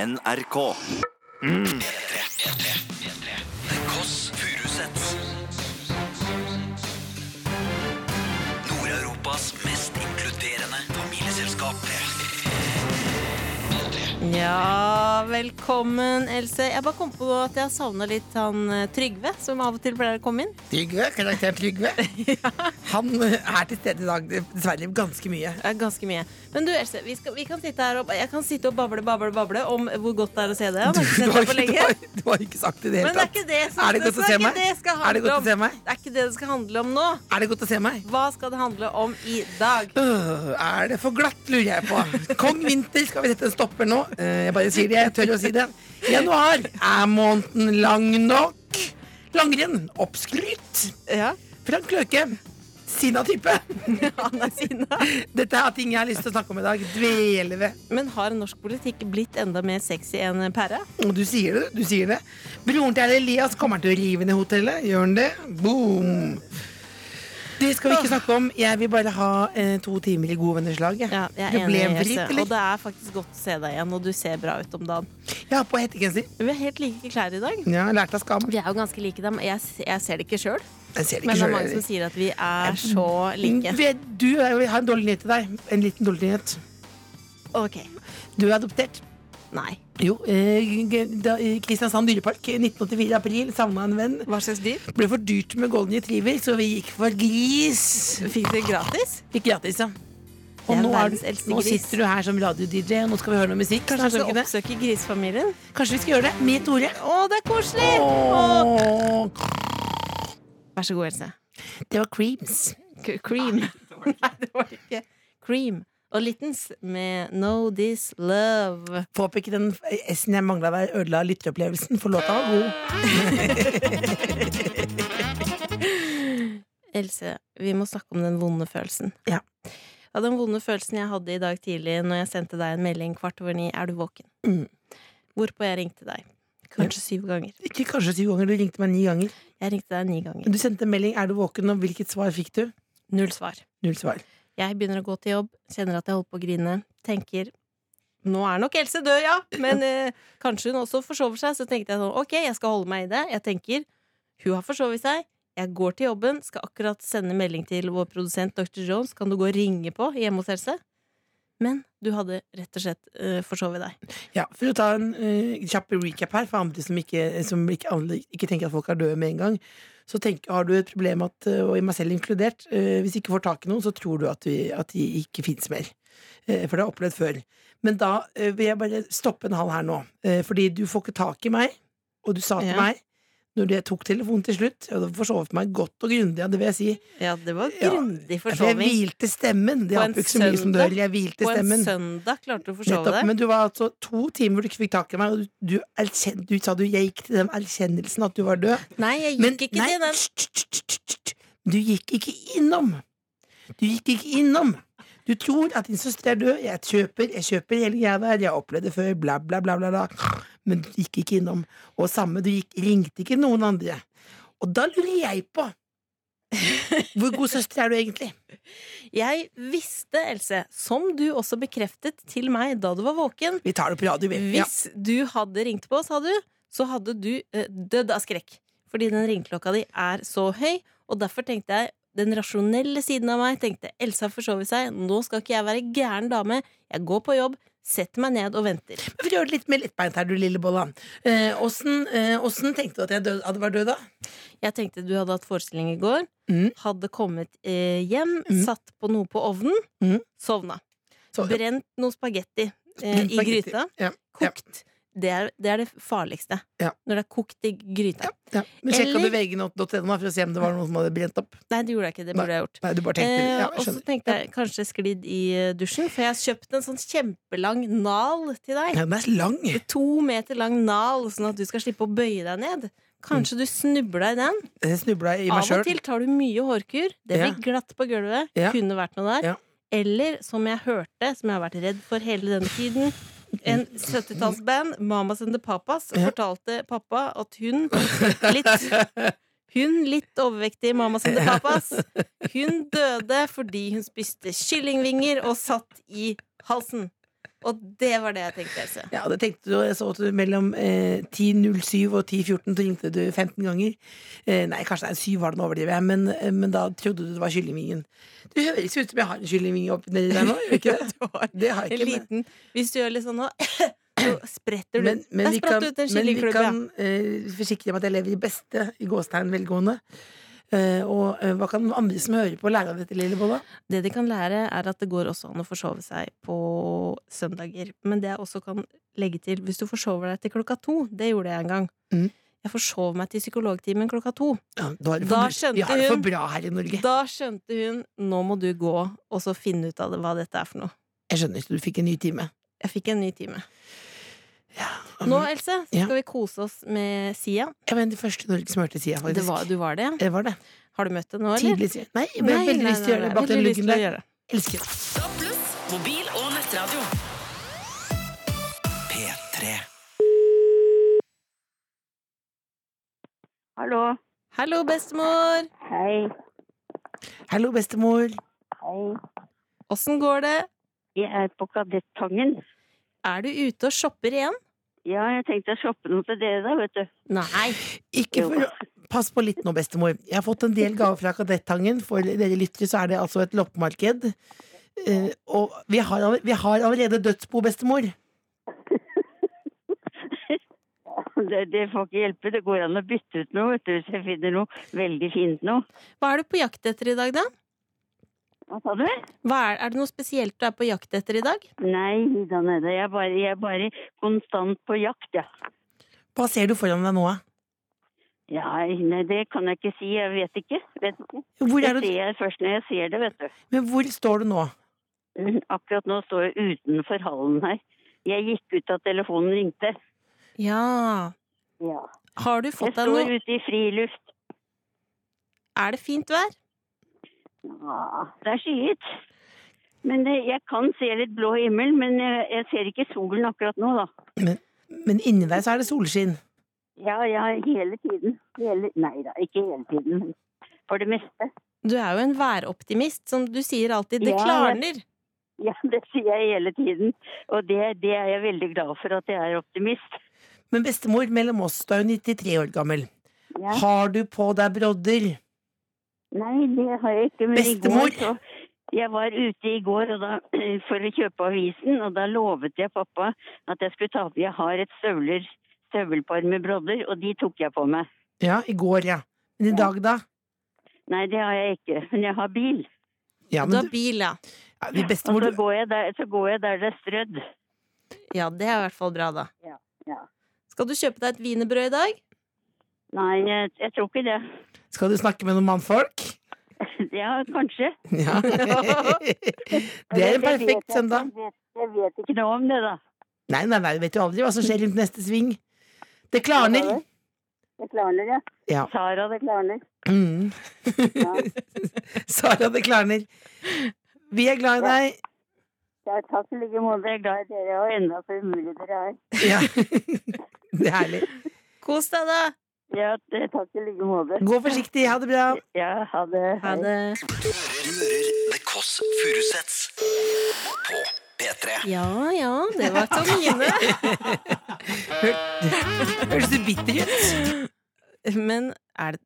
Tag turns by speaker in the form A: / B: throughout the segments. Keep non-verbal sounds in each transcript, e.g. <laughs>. A: NRK.
B: The Koss Furusets Nord-Europas mest inkluderende familieselskap
C: Ja, velkommen, Else. Jeg bare kom på at jeg savna litt han eh, Trygve, som av og til pleier å komme inn.
D: Trygve, karakteren
C: <laughs>
D: Trygve. Han eh, er til stede i dag, dessverre ganske mye.
C: Det er ganske mye. Men du, Else, vi, skal, vi kan sitte her og, jeg kan sitte og bable, bable, bable om hvor godt det er å se deg. Jeg har ikke sett deg
D: har
C: på
D: ikke, du, <laughs>
C: lenge.
D: har, du har ikke sagt det i det hele
C: Men det er ikke det som
D: Er det godt å
C: det
D: se
C: er ikke
D: meg?
C: det det skal
D: Er det
C: handle
D: godt å
C: om.
D: se meg?
C: Det er ikke det det skal handle om nå.
D: Er det godt å se meg?
C: Hva skal det handle om i dag?
D: Øh, Er det for glatt, lurer jeg på. Kong Vinter, skal vi sette en stopper nå? Eh, Jeg bare sier det, jeg tør å si det. Januar er måneden lang nok. Langrenn, oppskrytt.
C: Ja,
D: Frank Løke, sinna type.
C: <laughs> han er sinna.
D: Dette er ting jeg har lyst til å snakke om i dag. Dvele ved.
C: Men har norsk politikk blitt enda mer sexy enn pære?
D: Og Du sier det, du sier det. Broren til Elias kommer til å rive ned hotellet. Gjør han det? Boom! Det skal vi ikke snakke om. Jeg vil bare ha eh, to timer i gode venners lag. jeg.
C: Ja, jeg
D: Det
C: er
D: ble
C: enig,
D: en
C: Else.
D: fritt,
C: Og
D: eller?
C: det er faktisk godt å se deg igjen, og du ser bra ut om dagen.
D: Jeg har på hettegenser.
C: Vi er helt like klær i dag.
D: Ja, lært av skam.
C: Vi er jo ganske like dem. Jeg, jeg ser det ikke sjøl,
D: Jeg ser det
C: men det
D: ikke
C: er
D: sjøl.
C: mange som
D: Erik.
C: sier at vi er så like.
D: Vet Du jeg har en dårlig nyhet til deg. En liten dårlig nyhet.
C: Ok,
D: Du er adoptert.
C: nei.
D: Jo, eh, g- da- i Kristiansand dyrepark, 1984 april. Savna en venn.
C: Hva slags dyr?
D: Ble for dyrt med golden retriever, så vi gikk for gris.
C: Fikk det gratis?
D: Fikk gratis, ja.
C: Jeg
D: Og
C: er
D: nå, er,
C: verdens eldste
D: du- nå
C: gris.
D: sitter du her som radio-DJ, og nå skal vi høre noe musikk.
C: Kanskje vi
D: Kanskje,
C: skal
D: vi skal,
C: oppsøke grisfamilien?
D: opp- Kanskje vi skal gjøre det med Tore.
C: Å, det er koselig! Å.
D: Åh,
C: Vær så god, Else.
D: det var Creams.
C: K- Cream. <laughs> Nei, det var det ikke. Cream og Littens med No This Love.
D: Påpeke den S-en jeg mangla der, ødela lytteopplevelsen, for låta var god.
C: Else, vi må snakke om den vonde følelsen.
D: Ja.
C: Ja, den vonde følelsen jeg hadde i dag tidlig når jeg sendte deg en melding kvart over ni. Er du våken?
D: Mm.
C: Hvorpå jeg ringte deg. Kanskje syv ganger.
D: Ikke kanskje syv ganger, du ringte meg ni ganger.
C: Jeg ringte deg ni ganger.
D: Du sendte en melding 'Er du våken?' og hvilket svar fikk du?
C: Null svar.
D: Null svar.
C: Jeg begynner å gå til jobb, kjenner at jeg holder på å grine. Tenker nå er nok Else død, ja,
D: <laughs>
C: men eh, kanskje hun også forsover seg. Så tenkte jeg sånn, ok, jeg skal holde meg i det. Jeg tenker, hun har forsovet seg. Jeg går til jobben, skal akkurat sende melding til vår produsent Dr. Jones. Kan du gå og ringe på hjemme hos Else? Men du hadde rett og slett eh, forsovet deg.
D: Ja, For å ta en eh, kjapp recap her, for andre som, ikke, som ikke, alle ikke tenker at folk er døde med en gang, så tenk, har du et problem, at, eh, og i meg selv inkludert, eh, hvis ikke får tak i noen, så tror du at, vi, at de ikke fins mer. Eh, for det har jeg opplevd før. Men da eh, vil jeg bare stoppe en hal her nå. Eh, fordi du får ikke tak i meg, og du sa til
C: Ja.
D: meg når jeg tok telefonen til slutt, og du forsovet meg godt og grundig, ja, det vil jeg si.
C: Ja, det var
D: Ja,
C: grundig
D: For jeg
C: forsoving.
D: hvilte stemmen. Det
C: På
D: har
C: en
D: ikke så mye som
C: søndag.
D: dør. Jeg hvilte
C: På en
D: stemmen.
C: søndag klarte du å forsove
D: Nettopp,
C: deg.
D: men du var altså to timer du ikke fikk tak i meg, og du, du, erkjenn- du sa du jeg gikk til den erkjennelsen at du var død.
C: Nei, jeg
D: Men
C: gikk ikke
D: nei,
C: til den.
D: hysj, hysj, hysj, hysj, hysj. Du gikk ikke innom. Du gikk ikke innom. Du tror at din søster er død, jeg kjøper, jeg kjøper hele greia der, jeg har opplevd det før, bla, bla, bla, bla, bla. Men du gikk ikke innom. Og samme, du gikk, ringte ikke noen andre. Og da lurer jeg på Hvor god søster er du egentlig?
C: Jeg visste, Else, som du også bekreftet til meg da du var våken
D: Vi tar det på radio, vi. Ja.
C: Hvis du hadde ringt på, sa du, så hadde du eh, dødd av skrekk. Fordi den ringeklokka di er så høy, og derfor tenkte jeg den rasjonelle siden av meg tenkte Else har forsovet seg, nå skal ikke jeg være gæren dame. Jeg går på jobb, setter meg ned og venter.
D: For å gjøre det litt mer lettbeint her, du lille bolla. Eh, Åssen eh, åssen tenkte du at jeg død, hadde vært død, da?
C: Jeg tenkte du hadde hatt forestilling i går,
D: Mm.
C: hadde kommet eh, hjem,
D: Mm.
C: satt på noe på ovnen,
D: Mm.
C: sovna.
D: Så-
C: Brent noe spagetti eh,
D: Brent
C: i
D: spagetti.
C: gryta.
D: Ja, ja.
C: Kokt. Det, er, det er det farligste.
D: Ja.
C: Når det er kokt i gryta.
D: Ja. Men sjekka
C: Eller-
D: du vg.no for å se om det var noen som hadde brent opp?
C: Nei, det gjorde jeg ikke. Det burde jeg gjort.
D: Nei, du bare tenkte det.
C: Eh,
D: ja,
C: og
D: jeg
C: så
D: skjønner.
C: tenkte jeg kanskje sklidd i eh, dusjen, for jeg har kjøpt en sånn kjempelang nal til deg.
D: Ja, den er lang.
C: To meter lang nal, sånn at du skal slippe å bøye deg ned. Kanskje du snubla i den.
D: Jeg snubla i meg
C: Av og
D: sjøl.
C: til tar du mye hårkur. Det
D: Ja.
C: blir glatt på gulvet.
D: Ja.
C: Kunne vært noe der.
D: Ja.
C: Eller, som jeg hørte, som jeg har vært redd for hele denne tiden En 70-tallsband, Mamas and the Papas,
D: Ja.
C: fortalte pappa at hun litt Hun litt overvektig mamma som det papas. Hun døde fordi hun spiste kyllingvinger og satt i halsen. Og det var det jeg tenkte, Else.
D: Ja, det tenkte du, og jeg så at du mellom eh, 10.07 og 10.14 så ringte du 15 ganger. Eh, nei, kanskje det er 7 var det nå overdriver jeg, men, eh, men da trodde du det var kyllingvingen. Du høres jo ut som jeg har en kyllingvinge oppi nedi der nå,
C: <laughs>
D: gjør ikke det?
C: Du har
D: Det har
C: en
D: jeg ikke. men-
C: liten Hvis du gjør litt sånn nå, <coughs> så spretter du.
D: Men, men
C: Der
D: vi
C: spratt
D: kan,
C: det ut en
D: men vi
C: kyllingklubbe.
D: kan eh, forsikre om at jeg lever i beste i gåstegn velgående. Eh, og eh, hva kan andre som hører på, lære av dette, Lillebolla?
C: Det de kan lære, er at det går også an å forsove seg på søndager. Men det jeg også kan legge til, hvis du forsover deg til klokka to Det gjorde jeg en gang.
D: Mm.
C: Jeg forsov meg til psykologtimen klokka to.
D: Ja, da er det for
C: Da
D: bra.
C: skjønte
D: vi har det
C: hun.
D: for bra her i Norge.
C: Da skjønte hun nå må du gå og så finne ut av det, hva dette er for noe.
D: Jeg skjønner ikke, du fikk en ny time.
C: Jeg fikk en ny time.
D: Ja,
C: Nå, Else,
D: Mm. Ja.
C: skal vi kose oss med Sia.
D: Jeg var en av de første i Norge som hørte Sia, faktisk.
C: Det var, du var det?
D: Det var det.
C: Har du møtt det nå, eller?
D: Tidlig Sia. Nei, jeg ble veldig lyst til å gjøre det bak den luggen der.
C: det.
D: Elsker det.
A: Pluss mobil og nettradio.
B: P3.
E: Hallo.
C: Hallo, bestemor!
E: Hei.
D: Hallo, bestemor.
E: Hei.
C: Åssen går det?
E: Jeg er på Kadettangen.
C: Er du ute og shopper igjen?
E: Ja, jeg tenkte jeg shoppe noe til dere da, vet du.
C: Nei.
D: Ikke
E: Jo.
D: for å Pass på litt nå, bestemor. Jeg har fått en del gaver fra Kadettangen. For dere lyttere så er det altså et loppemarked. Eh, og vi har, all- vi har allerede dødsbo, bestemor.
E: Det, det får ikke hjelpe. Det går an å bytte ut noe, vet du, hvis jeg finner noe veldig fint nå.
C: Hva er du på jakt etter i dag, da?
E: Hva sa du?
C: Hva er, er det noe spesielt du er på jakt etter i dag?
E: Nei, da nede. Jeg er bare, jeg er bare konstant på jakt, ja.
D: Hva ser du foran deg nå? da?
E: Ja, nei, det kan jeg ikke si. Jeg vet ikke. Vet ikke.
D: Hvor
E: Det
D: er
E: ser
D: du,
E: jeg først når jeg ser det, vet du.
D: men hvor står du nå?
E: Mm, Akkurat nå står jeg utenfor hallen her. Jeg gikk ut da telefonen ringte.
C: Ja.
E: Ja.
C: Har du
E: Jeg
C: fått deg
E: står
C: noe
E: ute i friluft.
C: Er det fint vær?
E: Ja, Ah, det er skyet. Men det, jeg kan se litt blå himmel, men jeg, jeg ser ikke solen akkurat nå, da.
D: Men inni deg så er det solskinn.
E: Ja, ja, hele tiden. Hele, nei da, ikke hele tiden. For det meste. <laughs>
C: Du er jo en væroptimist, som du sier alltid. Det
E: Ja, jeg-
C: klarner.
E: Ja, det sier jeg hele tiden. Og det, det er jeg veldig glad for at jeg er optimist.
D: Men bestemor, mellom oss, du er jo 93 år gammel.
E: Ja.
D: Har du på deg brodder?
E: Nei, det har jeg ikke, men
D: Bestemor!
E: i går så jeg var ute i går og da, <clears throat> for å kjøpe avisen, og da lovet jeg pappa at jeg skulle ta på Jeg har et støvler, støvelpar med brodder, og de tok jeg på meg.
D: Ja, i går, ja. Men i dag, da?
E: Nei, det har jeg ikke, men jeg har bil.
D: Ja,
C: Du har
D: men du,
C: bil, ja.
D: ja, vi
E: Og
D: bestemor,
E: så
D: du,
E: går jeg der, så går jeg der det er strødd.
C: Ja, det er i hvert fall bra, da.
E: Ja, ja.
C: Skal du kjøpe deg et wienerbrød i dag?
E: Nei, jeg, jeg tror ikke det. <laughs>
D: skal du snakke med noen mannfolk?
E: Ja, kanskje. <laughs>
D: Ja. Det er en perfekt søndag.
E: Jeg vet, jeg vet ikke noe om det, da.
D: Nei, nei, nei, du vet jo aldri hva som skjer rundt neste sving. Det klarner.
E: Det klarner, ja.
D: Ja.
E: Sara, det klarner.
D: Mm. <laughs>
E: Ja.
D: Sara, det klarner. Vi er glad i deg.
E: Ja, takk i like måte. Jeg er glad i dere, og enda så umulig dere er.
D: Ja. <laughs> Det er herlig.
C: Kos deg, da!
E: Ja, det- takk i like måte.
D: Gå forsiktig. Ha det bra.
E: Ja, ha det.
C: Ha det.
B: Hører The Kåss Furuseths på P3.
C: Ja ja, det var Tomine.
D: Høres du bitter ut?
C: <laughs> Men er det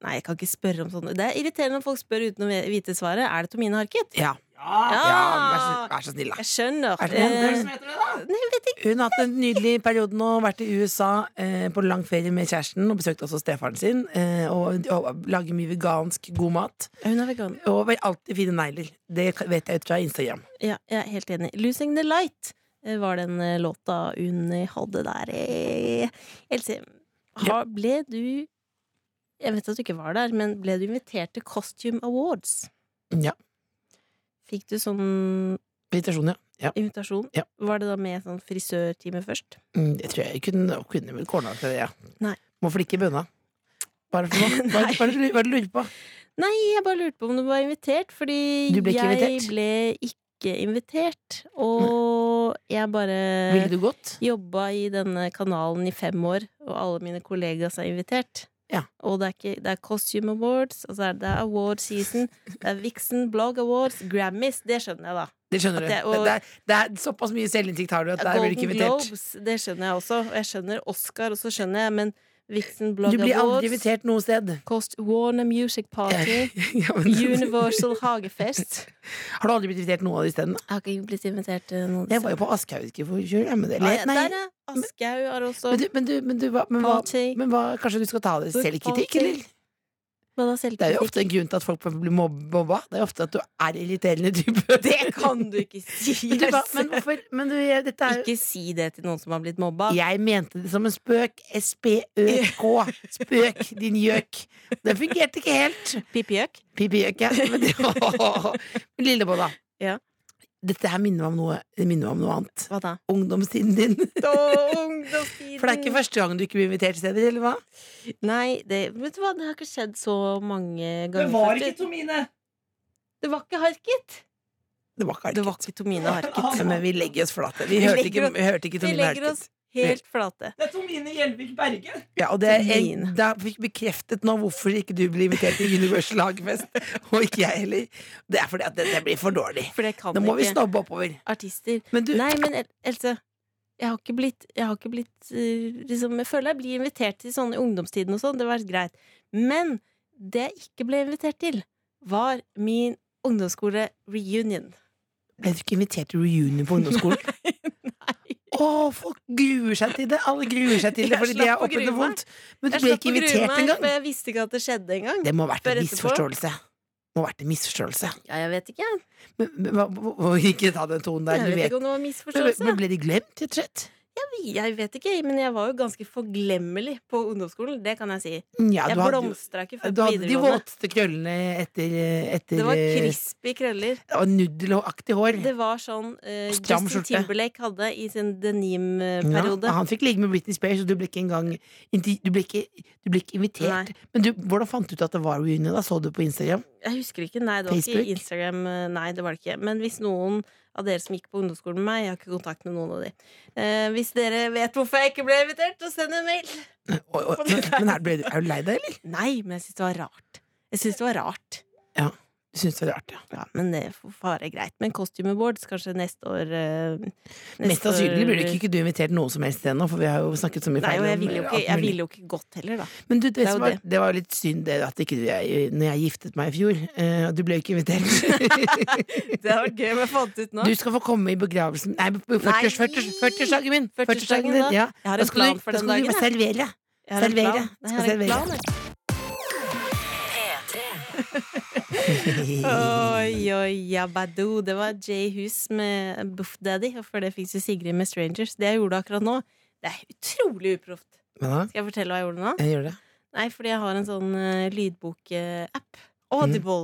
C: Nei, jeg kan ikke spørre om sånne Det er irriterende når folk spør uten å vite svaret. Er det Tomine Harket?
D: Ja. ja vær, så, vær så snill, da.
C: Jeg skjønner.
D: Er det noen
C: Eh,
D: som
C: Nei, jeg vet ikke.
D: Hun har hatt en nydelig periode nå, vært i USA eh, på lang ferie med kjæresten og besøkt også stefaren sin. Eh, og, og lager mye vegansk god mat.
C: Hun er vegan.
D: Og vel alltid fine negler. Det kan- vet jeg ut fra Instagram.
C: Ja, jeg er helt enig. 'Losing the Light' eh, var den eh, låta hun eh, hadde der. eh. Else, har, ble du Jeg vet at du ikke var der, men ble du invitert til Costume Awards?
D: Ja.
C: Fikk du sånn
D: Invitasjon, ja. ja.
C: invitasjon?
D: Ja.
C: Var det da med sånn frisørtime først?
D: Mm, Det tror jeg jeg kunne, kunne vel kåla til det, ja.
C: Nei.
D: Må flikke i bønna. Hva er det for
C: <laughs>
D: noe? Hva er det- hva er det du- hva er det du lurer på?
C: Nei, jeg bare lurte på om du var invitert, fordi
D: Du ble ikke
C: jeg
D: invitert?
C: ble ikke invitert. Og jeg bare
D: Ville du gått?
C: jobba i denne kanalen i fem år, og alle mine kollegaer er invitert.
D: Ja.
C: Og det er, ikke, det er Costume Awards, og så er det det er Award Season, det er Vixen, Blog Awards, Grammys. Det skjønner jeg, da.
D: Det skjønner du.
C: At det-
D: Det,
C: og-
D: det, er, det er såpass mye selvinnsikt har du at der blir du ikke
C: Golden
D: invitert.
C: Globes, det skjønner jeg også. Og jeg skjønner Oscar, og så skjønner jeg, men Vixen, Blog
D: Du blir aldri
C: Awards
D: invitert noe
C: <laughs>
D: sted.
C: Cost Warner Music Party,
D: <laughs> Ja, men-
C: Universal Hagefest.
D: Har du aldri blitt invitert noen av de stedene?
C: Jeg har ikke blitt invitert til noen
D: Jeg var jo på Aschehoug i forkjøl. Ja, men det-
C: Ja, ja,
D: eller- eh, nei.
C: Der, ja. Aschehoug er også
D: Men du, men du, men du hva, men hva,
C: Party.
D: men hva Kanskje du skal ta det
C: Book
D: selvkritikk,
C: party.
D: eller?
C: Hva da,
D: Det er jo
C: selvkritikk?
D: ofte en grunn til at folk blir mobb- mobba. Det er ofte at du er irriterende type.
C: Det kan du ikke si! <laughs>
D: <laughs> Men, du, hva-
C: Else.
D: men hvorfor Men du, jeg- dette er jo
C: Ikke si det til noen som har blitt mobba.
D: Jeg mente det som en spøk. S-p-ø-k. Spøk, din gjøk. Det fungerte ikke helt.
C: Pipjøk.
D: Pipi-gjøk, ja. Men, det- men Lillebolla.
C: Ja.
D: Dette her minner meg om noe, det minner meg om noe annet.
C: Hva da?
D: Ungdomstiden din.
C: Ungdomstiden!
D: For det er ikke første gang du ikke blir invitert steder, eller hva?
C: Nei, det, vet du hva, det har ikke skjedd så mange ganger. faktisk.
D: Tomine.
C: det var ikke harket!
D: Det var ikke
C: Det var ikke Tomine
D: <laughs>
C: Harket.
D: Harket. Men vi legger oss flate. Vi,
C: Vi
D: hørte
C: legger
D: ikke,
C: oss-
D: vi hørte ikke
C: Vi
D: Tomine
C: legger
D: Harket.
C: oss helt flate.
D: Det er Tomine Gjelvik Berge. Ja, og det er en,
C: Tomine.
D: da fikk vi bekreftet nå hvorfor ikke du blir invitert til Universal Hagefest, og ikke jeg heller. Det er fordi at det, det blir for dårlig.
C: For det kan
D: Nå må vi
C: ikke
D: snobbe oppover.
C: artister.
D: Men du,
C: Nei, men El- Else, jeg har ikke blitt, jeg har ikke blitt eh, liksom, Jeg føler jeg blir invitert til sånne i ungdomstiden og sånn, det var greit. Men det jeg ikke ble invitert til, var min ungdomsskole-reunion.
D: ble du ikke invitert til reunion på ungdomsskolen? <laughs>
C: Nei.
D: Å, folk gruer seg til det! Alle gruer seg til det
C: Jeg
D: fordi de
C: slapp
D: har
C: å grue
D: opplevd det
C: meg.
D: vondt. Men du
C: Jeg
D: ble
C: slapp
D: ikke
C: å grue
D: invitert
C: meg,
D: engang.
C: For jeg visste ikke at det skjedde engang.
D: Det må ha vært
C: Spør
D: en
C: etterpå.
D: misforståelse. Må ha vært en misforståelse.
C: Ja, jeg vet ikke. jeg.
D: Men, men, hva- hva- hva- ikke ta den tonen der,
C: Jeg
D: du
C: vet
D: vet.
C: ikke om det var
D: Men,
C: misforståelse.
D: men ble de glemt, rett og slett?
C: Jeg vet ikke, men jeg var jo ganske forglemmelig på ungdomsskolen. Det kan jeg si.
D: Ja,
C: Jeg
D: du hadde,
C: blomstra ikke før
D: du
C: på
D: hadde eh, de
C: videregående.
D: våteste krøllene etter, etter eh,
C: Det var crispy krøller.
D: Det var nuddelaktig hår.
C: Det var sånn eh,
D: Stram
C: Justin
D: skjorte.
C: Timberlake hadde i sin
D: Ja,
C: denim-periode.
D: han fikk ligge med Britney Spears, og du ble ikke engang inti- Du ble ikke, du ble ikke invitert.
C: Nei.
D: Men du, hvordan fant du ut at det var reunion? da? Så du på Instagram?
C: Jeg husker ikke. Nei, det var
D: Facebook?
C: ikke Instagram. eh, Nei, det var det ikke. Men hvis noen av dere som gikk på ungdomsskolen med meg Jeg har ikke kontakt med noen av de. Eh, hvis dere vet hvorfor jeg ikke ble invitert, så send en mail. <laughs>
D: Oi, oi, men men er, ble, du- er du lei deg, eller?
C: Nei, men jeg syns det var rart. Jeg syns det var rart.
D: Du syns det er rart, ja.
C: Ja, men det får være greit. Men Costume Awards kanskje neste år eh, neste
D: Mest sannsynlig
C: år-
D: blir det ikke, ikke du invitert noen som helst ennå, for vi har jo snakket så mye
C: Nei,
D: feil
C: og jeg
D: om,
C: ville jo
D: eh,
C: ikke,
D: alt
C: jeg
D: mulig.
C: ville jo ikke gått heller, da.
D: Men du, det,
C: er jo
D: som var,
C: det.
D: det var jo litt synd det at ikke du jeg, Når jeg giftet meg i fjor, eh, og du ble jo ikke
C: <laughs>
D: invitert.
C: <laughs> Det hadde vært gøy om jeg fant ut nå.
D: Du skal få komme i begravelsen Nei, på 40-års- 40-års- 40-årsdagen min!
C: 40-årsdagen
D: 40-årsdagen
C: da?
D: din, ja
C: Jeg har
D: Da
C: en
D: skal du-
C: plan for den dagen,
D: Da skal du servere.
C: Jeg har en
D: servere.
C: plan. Jeg
D: Skal
C: har en
D: servere.
C: plan, jeg.
D: <laughs>
C: Oi, oi, jabadoo. Det var Jay Hus med Buff Daddy, og før det fikk du Sigrid med Strangers. Det jeg gjorde akkurat nå, det er utrolig uproft.
D: Men da,
C: Skal jeg fortelle hva jeg gjorde nå?
D: jeg gjør det.
C: Nei, fordi jeg har en sånn uh, lydbokapp. Audible.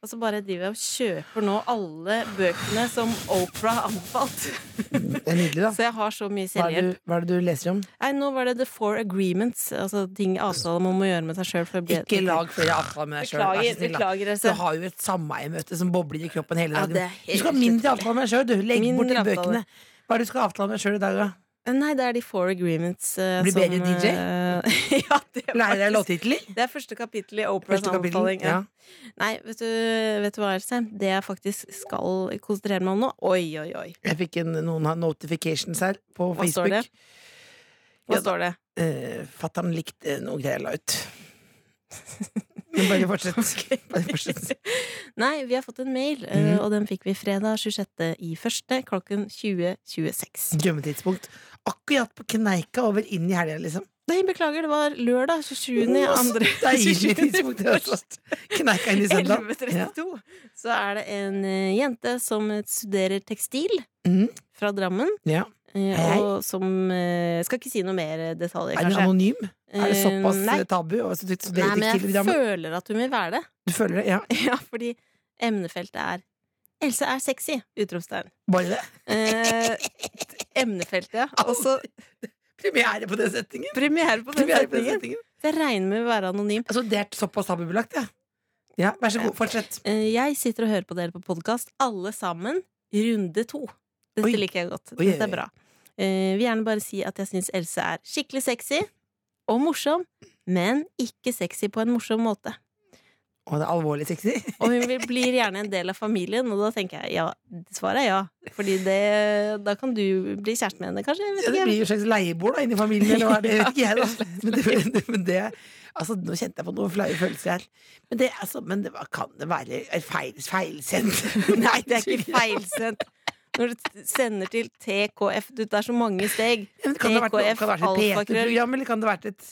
C: Og så bare driver jeg og kjøper nå alle bøkene som Opera anbefalt.
D: Det er nydelig, da.
C: Så jeg har så mye
D: Hva er,
C: selvhjelp.
D: det, du- hva er det du leser om?
C: Nei, nå var det The Four Agreements. Altså ting avtaler man må gjøre med seg sjøl.
D: Ikke lag flere avtaler med deg sjøl. Vær så
C: Beklager,
D: snill. da.
C: beklager.
D: Du
C: Altså.
D: har jo et sameiemøte som bobler i kroppen hele
C: Ja,
D: dagen.
C: det er helt
D: du skal ha mindre
C: utrolig.
D: avtaler med deg sjøl. Du legger bort de
C: Mindre avtaler.
D: bøkene. Hva er det du skal avtale med deg sjøl i dag, da?
C: Nei, det er de Four Agreements eh,
D: Blir bedre
C: som,
D: DJ?
C: eh, <laughs> ja, det er,
D: Lærer deg
C: faktisk-
D: låttitler?
C: det er første kapittel i Operas
D: Første kapittel.
C: anbefaling.
D: Ja.
C: Ja. Nei, vet du, vet du hva, Else? Det jeg faktisk skal konsentrere meg om nå Oi, oi, oi.
D: Jeg fikk en, noen notifications her på
C: Hva står
D: Facebook.
C: det? Hva
D: Ja, da-
C: står det?
D: Eh, Fatter'n likte noe greier jeg la ut. Men bare
C: <laughs>
D: fortsett. Bare fortsett.
C: Nei, vi har fått en mail, eh, og den fikk vi fredag 26. i første klokken 20.26.
D: Drømmetidspunkt. Akkurat på kneika over inn i helga, liksom.
C: Nei, beklager, det var lørdag 27. i
D: Å,
C: <laughs> andre
D: Deilig tidspunkt. det også.
C: <laughs>
D: Kneika inn i søndag.
C: 11.32 så er det en eh, jente som eh, studerer tekstil
D: Mm.
C: fra Drammen.
D: Ja.
C: eh,
D: Hei.
C: og som eh, Skal ikke si noe mer eh, detaljer,
D: Er den
C: kanskje.
D: anonym? Er det
C: Eh,
D: såpass
C: nei.
D: tabu? å studere
C: Nei, men
D: tekstil
C: jeg
D: i Drammen?
C: føler at hun vil være det. <laughs>
D: Du føler det? Ja.
C: ja, fordi emnefeltet er Else er sexy! Utropstegn.
D: Bare
C: <laughs>
D: det?
C: Eh, emnefeltet, ja. Og så
D: <laughs> Premiere på den setningen!
C: Altså- premiere på den
D: Premiere på den
C: setningen.
D: setningen.
C: Jeg regner med å være anonym.
D: Altså, det er såpass tabubelagt, ja. ja. Vær så god, fortsett.
C: Eh, jeg sitter og hører på dere på podkast, alle sammen, runde to. Dette
D: Oi.
C: liker jeg godt.
D: Oi,
C: Dette
D: oi,
C: er
D: oi.
C: bra. Eh, vil gjerne bare si at jeg syns Else er skikkelig sexy og morsom, men ikke sexy på en morsom måte.
D: Og det er alvorlig sexy. <laughs>
C: Og hun vil- blir gjerne en del av familien, og da tenker jeg ja. Svaret er ja. Fordi det, da kan du bli kjæreste med henne, kanskje. Jeg vet
D: Ja, det
C: ikke.
D: blir jo et slags leiebord da, inni familien, eller hva er det? Jeg vet ikke
C: <laughs>
D: jeg, da. Men det, men det altså, nå kjente jeg på noen flaue følelser her. Men, det, altså, men det, var- kan det være er feil, feilsendt? <laughs>
C: Nei, det er ikke feilsendt. Når du t- sender til TKF du, Det er så mange steg.
D: Men Kan det ha vært, noe- kan det ha vært et
C: alfakrøll.
D: PT-program, eller kan det ha vært et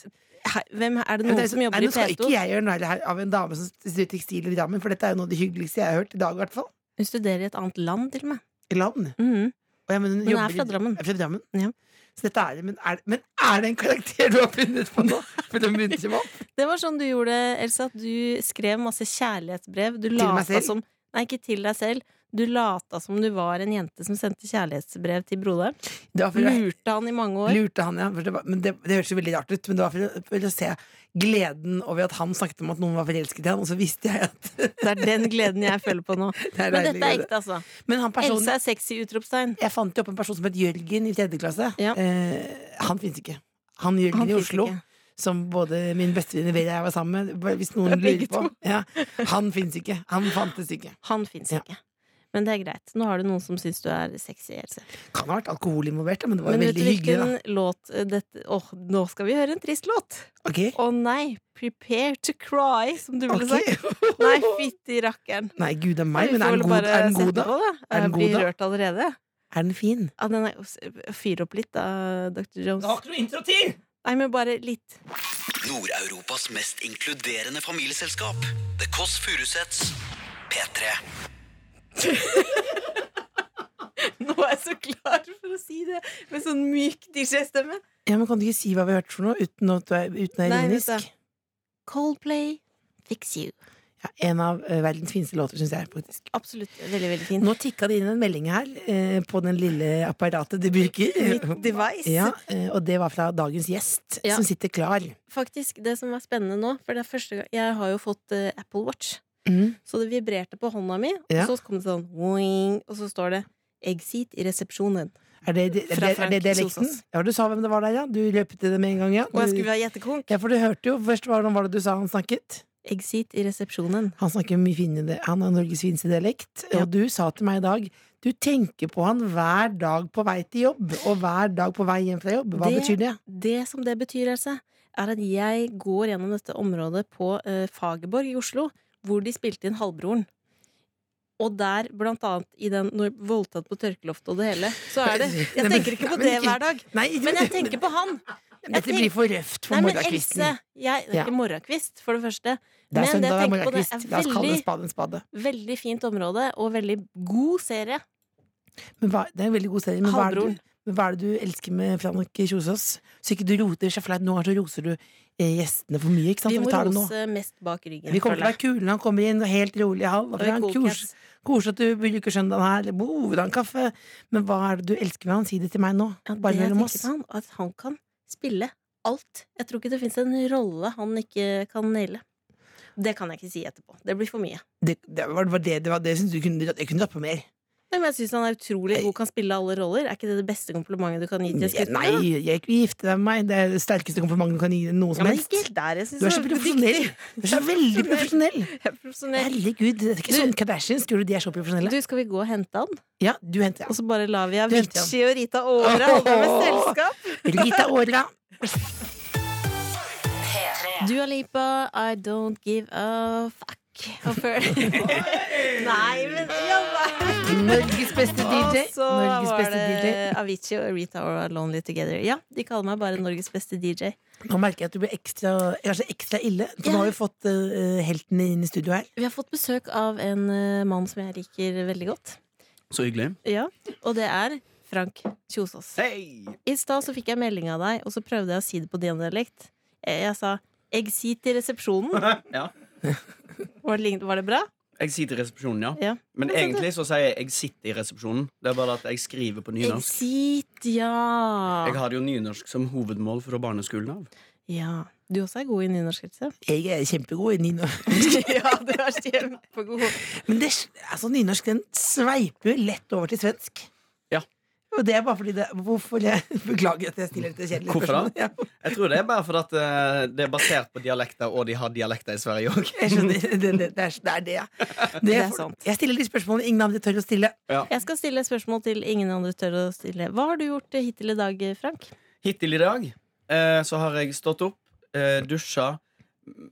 C: Hei, Hvem er det
D: Men
C: noen
D: det er-
C: som jobber
D: nei,
C: i
D: Nå skal ikke
C: P2?
D: jeg gjøre narr her av en dame som studerer tekstil i Drammen, for dette er jo noe av det hyggeligste jeg har hørt i dag, i hvert fall.
C: Hun studerer i et annet land, til og med.
D: I land.
C: Mhm.
D: Og ja, men
C: Men
D: hun
C: hun er
D: jobber i-
C: fra Drammen.
D: Er fra Drammen?
C: Ja.
D: Så dette er det, men er, det- men er det en karakter du har funnet på nå? For det begynte ikke med opp.
C: Det var sånn du gjorde, Elsa. at Du skrev masse kjærlighetsbrev. Du
D: meg
C: lata
D: selv?
C: som Nei, ikke til deg selv. Du lata som du var en jente som sendte kjærlighetsbrev til broderen.
D: Det var for å
C: Lurte han i mange år.
D: Lurte han, ja. For det, var, men det, det høres jo veldig rart ut, men det var for å, for å se gleden over at han snakket om at noen var forelsket i han, og så visste jeg at <laughs>
C: Det er den gleden jeg føler på nå.
D: det er
C: Men dette
D: deilig.
C: er
D: glede.
C: ekte, altså.
D: Men han personen
C: Elsa er sexy! utropstegn.
D: Jeg fant jo opp en person som het Jørgen i tredje klasse.
C: Ja.
D: Eh, han finnes ikke. Han Jørgen
C: Han
D: i
C: finnes
D: Oslo,
C: ikke.
D: som både min bestevenninne Vera og jeg var sammen med, bare hvis noen
C: Begge
D: lurer på ja, Han finnes ikke. Han fantes ikke.
C: Han fins
D: Ja.
C: ikke. Men det er greit. Nå har du noen som syns du er sexy. Else.
D: Kan ha vært alkohol involvert, men det var
C: Men vet du
D: veldig hyggelig.
C: hvilken låt eh, dette Åh, nå skal vi høre en trist låt!
D: Da. Ok.
C: Å nei! Prepare to cry, som du ville sagt.
D: Ok.
C: Nei, fytti rakkeren.
D: <laughs> Nei, gud a meg,
C: Vi
D: men
C: får
D: er den
C: vel
D: god,
C: bare
D: er den
C: sette
D: god da?
C: på,
D: Er den
C: Jeg blir
D: god, da?
C: rørt allerede.
D: Er den fin?
C: Ja, den er, s- fyr opp litt, da, Dr. Jones.
D: ikke noe introtid!
C: Nei, men bare litt. <laughs>
B: Nord-Europas mest inkluderende familieselskap. The Kåss Furuseths. P3.
C: Nå er jeg så klar for å si det med sånn myk DJ-stemme.
D: Ja, men Kan du ikke si hva vi har hørt for noe, uten at du er, uten å være
C: Nei, vet
D: ironisk?
C: du. Coldplay, Fix You.
D: Ja, en av eh, verdens fineste låter, syns jeg. faktisk
C: Absolutt. Veldig, veldig fin.
D: Nå tikka det inn en melding her eh, på den lille apparatet du bruker.
C: Mitt device.
D: Ja, eh, og det var fra dagens gjest,
C: Ja.
D: som sitter klar.
C: faktisk det som er spennende nå For det er første gang Jeg har jo fått eh, Apple Watch Så det vibrerte på hånda mi
D: Ja.
C: Og så kom det sånn «Wing», Og så står det Exit i resepsjonen
D: Er det, det,
C: Fra
D: er det, er det
C: Frank
D: dialekten?
C: Solsås.
D: Ja, du sa hvem det var der, ja. Du løpte det med en gang, ja.
C: Og jeg
D: Du-
C: skulle være gjettekonk
D: ja, for du hørte jo først hvordan var det du sa han snakket.
C: Exit i resepsjonen
D: Han snakker mye finere, han har Norges fineste dialekt.
C: Ja.
D: Og du sa til meg i dag du tenker på han hver dag på vei til jobb, og hver dag på vei hjem fra jobb. Hva
C: Det-
D: betyr det?
C: Det som det betyr Else Er at jeg går gjennom dette området På eh, Fagerborg i Oslo Hvor de spilte inn Halvbroren og der, blant annet, i den når voldtatt på tørkeloftet og det hele, så er det,
D: Nei,
C: jeg
D: men-
C: tenker ikke
D: nei,
C: på
D: men
C: det
D: ikke-
C: hver dag,
D: Nei,
C: men jeg tenker på han.
D: Dette blir for røft for
C: Nei, men
D: morgenkvisten.
C: Else, jeg, det er ikke morgenkvist, for det første.
D: Det er
C: Men det
D: søndag, det
C: jeg
D: er
C: tenker på, det
D: morgenkvist.
C: er
D: La oss kalle det en
C: veldig-
D: spade en spade.
C: Veldig fint område, og veldig god serie.
D: Men hva, det er en veldig god serie, men hva, er det
C: Halvbroren.
D: du, men hva er det du elsker med Frank Kjosås? Så ikke du roter så flaut. Noen ganger så roser du eh, gjestene for mye. ikke sant?
C: Vi
D: Så
C: må
D: tar det nå.
C: rose mest bak ryggen.
D: Vi kommer til å være kule når han kommer inn, og helt rolig. Hall,
C: føler jeg. Og vi cool cats.
D: Koselig at du bruker søndagen her. Bor han kaffe? Men hva er det du elsker med han? Si det til meg nå.
C: Ja, det
D: Bare
C: jeg
D: mellom
C: tenker
D: oss.
C: på han, at han kan spille alt. Jeg tror ikke det fins en rolle han ikke kan naile. Det kan jeg ikke si etterpå. Det blir for mye.
D: Det, det var var det, det, var det synes du kunne, jeg kunne dratt på mer.
C: Nei, men jeg syns han er utrolig god, kan spille alle roller. Er ikke det det beste komplimentet du kan gi til en
D: Jeg- Nei,
C: skuespiller? da?
D: jeg vil gifte deg med meg. Det er det sterkeste komplimentet du kan gi noen
C: Ja,
D: som
C: men
D: helst.
C: ikke helt der. Jeg synes
D: Du er
C: han
D: så
C: veldig
D: profesjonell.
C: dyktig.
D: Du er så
C: <laughs>
D: veldig profesjonell.
C: Jeg er profesjonell.
D: Herregud, det er ikke
C: Du-
D: sånn Kardashians. Tror du de er så profesjonelle?
C: Du, skal vi gå og hente han?
D: Ja, du henter altså,
C: Og så bare lar vi
D: Vent, ja.
C: Avicii og Rita Ora holde med selskap.
D: Rita Ora.
C: <laughs> Dua Lipa, I don't give a fuck. Og før <laughs> Nei, men ja, hva-
D: Norges beste
C: Og
D: DJ.
C: så
D: Norges
C: var
D: beste DJ.
C: det Avicii og Rita Ora Lonely Together. Ja, de kaller meg bare Norges beste DJ.
D: Nå merker jeg at du blir ekstra, kanskje ekstra ille. For
C: Ja.
D: nå har vi fått eh, heltene inn i studio her.
C: Vi har fått besøk av en eh, mann som jeg liker veldig godt.
F: Så hyggelig.
C: Ja, Og det er Frank Kjosås. I stad så fikk jeg melding av deg, og så prøvde jeg å si det på din dialekt. Jeg, jeg sa 'exit i resepsjonen'.
F: Ja.
C: Var det, lign- var det bra?
F: Jeg sitter i resepsjonen, ja.
C: Ja.
F: Men egentlig så sier jeg 'jeg sitter i resepsjonen'. Det er bare at jeg skriver på nynorsk.
C: Exit,
F: Jeg
C: ja.
F: hadde jo nynorsk som hovedmål fra barneskolen av.
C: ja. Du også er god i nynorsk, Else.
D: Jeg er kjempegod i nynorsk.
C: <laughs> ja, du er kjempegod.
D: Men det, altså, nynorsk den sveiper jo lett over til svensk.
F: Ja.
D: Og det er bare fordi det Hvorfor jeg <laughs> Beklager at jeg stiller dette kjedelige
F: Hvorfor da?
D: spørsmålet. Ja,
F: Jeg tror det er bare fordi at eh, det er basert på dialekter, og de har dialekter i Sverige òg.
D: jeg
F: <laughs>
D: skjønner. Det, det, det, er, det er det, ja. Det
C: er
D: for-
C: sant.
D: Jeg stiller de spørsmålene ingen andre tør å stille.
C: Jeg skal stille et spørsmål til ingen andre tør å stille. Hva har du gjort eh, hittil i dag, Frank?
F: Hittil i dag eh, så har jeg stått opp, eh, dusja,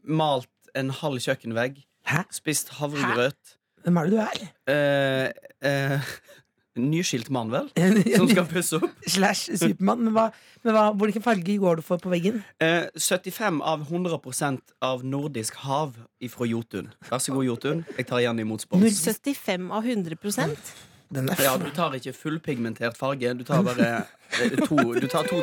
F: malt en halv kjøkkenvegg,
D: Hæ?
F: spist havregrøt
D: Hvem er det du er?
F: eh, eh, <laughs> Nyskilt mann, vel? Som skal pusse opp.
D: Slash Supermann. Men, hva, men hva, hvilken farge går du for på veggen?
F: Eh, 75 av 100 av nordisk hav ifra Jotun. Vær så god, Jotun. Jeg tar gjerne imot spons.
C: 75 av 100
D: Den er
F: Ja, du tar ikke fullpigmentert farge. Du tar bare eh, to, du tar to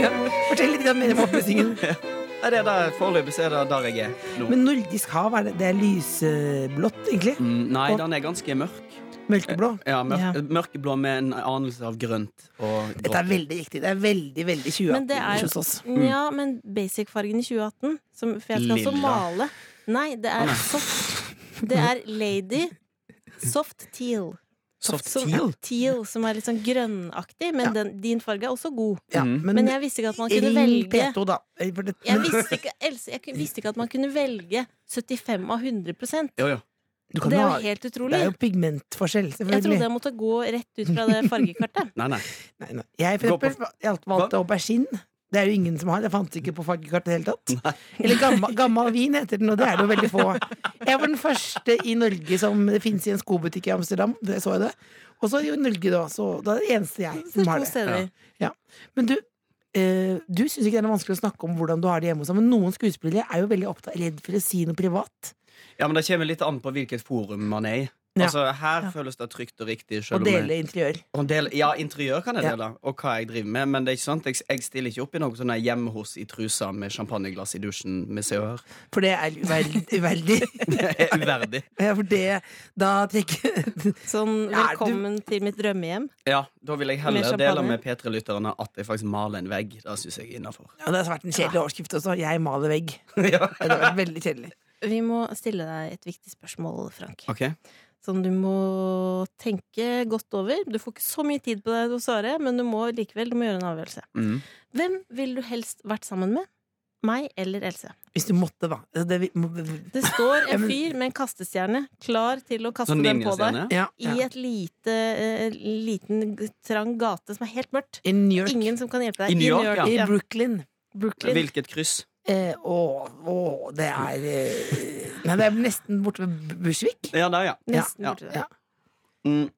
D: <laughs> Ja, Fortell litt grann mer om
F: <laughs>
D: oppussingen.
F: Nei, det er der, foreløpig så er det der jeg er nå.
D: Men nordisk hav, er det, det er lyseblått, egentlig?
F: Mm, nei, den er ganske mørk.
D: Mørkeblå.
F: Ja, mørk,
C: Ja.
F: Mørkeblå med en anelse av grønt. Og
D: Dette er veldig riktig. Det er veldig, veldig 2018
C: Men det er Mm.
D: hos oss.
C: Ja, men basic-fargen i 2018 som, For jeg skal også
F: Lilla.
C: male Nei, det
F: Å,
C: er
F: nei.
C: soft Det er lady Soft teal
F: Soft
C: som,
D: teal?
C: Teal, som er litt sånn grønnaktig Men den, din farge er også god
D: Ja,
F: Mhm.
D: men,
C: Men jeg visste ikke at man kunne
D: ring
C: velge
D: P2, da. Eh, for det-
C: jeg visste, ikke, Else, jeg kun- visste ikke at man kunne velge 75 av 100
F: Jo, jo.
D: Du kan
C: Det er
D: ha-
C: jo helt
D: det
C: utrolig
D: er jo pigmentforskjell,
C: Jeg trodde
D: selvfølgelig.
C: jeg måtte gå rett ut fra det fargekartet
F: Nei, nei.
D: Nei, nei. Jeg, for
F: Gå på-
D: eksempel, jeg alt- valgte aubergine. Det er jo ingen som har. Det fantes ikke på fargekart i det hele tatt. Eller gammal, gammal vin heter den, og det er det jo veldig få. Jeg var den første i Norge som det fins i en skobutikk i Amsterdam. Det så jeg det. Og så i Norge, da. Så da er det eneste jeg
C: Det
D: <laughs> som
C: er
D: har
C: to
D: det.
C: steder
D: Men du, eh, du syns ikke det er vanskelig å snakke om hvordan du har det hjemme hos deg, men noen skuespillere er jo veldig opptatt redd for å si noe privat.
F: Ja, men Det kommer litt an på hvilket forum man er i.
D: Ja.
F: Altså, Her
D: Ja.
F: føles det trygt og riktig.
D: Og
F: selv om jeg-
D: dele interiør.
F: Og del, ja, interiør kan jeg
D: Ja.
F: dele, og hva jeg driver med. Men det er ikke sant, jeg, jeg stiller ikke opp i noe sånn her hjemme hos i trusa med champagneglass i dusjen med Se og Hør.
D: For det er uverdig. uverdig.
F: <laughs> Det er uverdig.
D: Ja, for det Da trekker
C: Sånn,
D: Er du-
C: velkommen til mitt drømmehjem
F: Ja, Da vil jeg
C: Med
F: heller
C: champagne?
F: dele med P3-lytterne at jeg faktisk maler en vegg. Det syns jeg er innafor.
D: ja, Det har vært en kjedelig overskrift også. 'Jeg
C: <laughs>
D: maler vegg'.
F: ja.
D: Ja, det har vært veldig kjedelig.
C: Vi må stille deg et viktig spørsmål, Frank
F: Ok.
C: som du må tenke godt over. Du får ikke så mye tid på deg til å svare, men du må likevel du må gjøre en avgjørelse.
F: Mm.
C: Hvem ville du helst vært sammen med? Meg eller Else?
D: Hvis du måtte, da. Altså, Det, det, må,
C: Det
D: <laughs>
C: står en fyr med en kastestjerne klar til å kaste
F: Sånn
C: den på deg.
F: ninjastjerne?
D: ja,
C: I
D: ja.
C: et lite, eh, liten, g- trang gate som er helt mørkt.
D: I New York.
C: Ingen som kan hjelpe deg.
F: I New York, ja.
D: I
C: ja.
D: Brooklyn.
C: Brooklyn.
F: Hvilket kryss?
D: Eh, å, å, det er eh, Nei, det er nesten borte ved Bursvik.
F: Ja, der, ja.
C: Nesten
F: Ja,
C: borte der.
D: Ja.
F: Mm.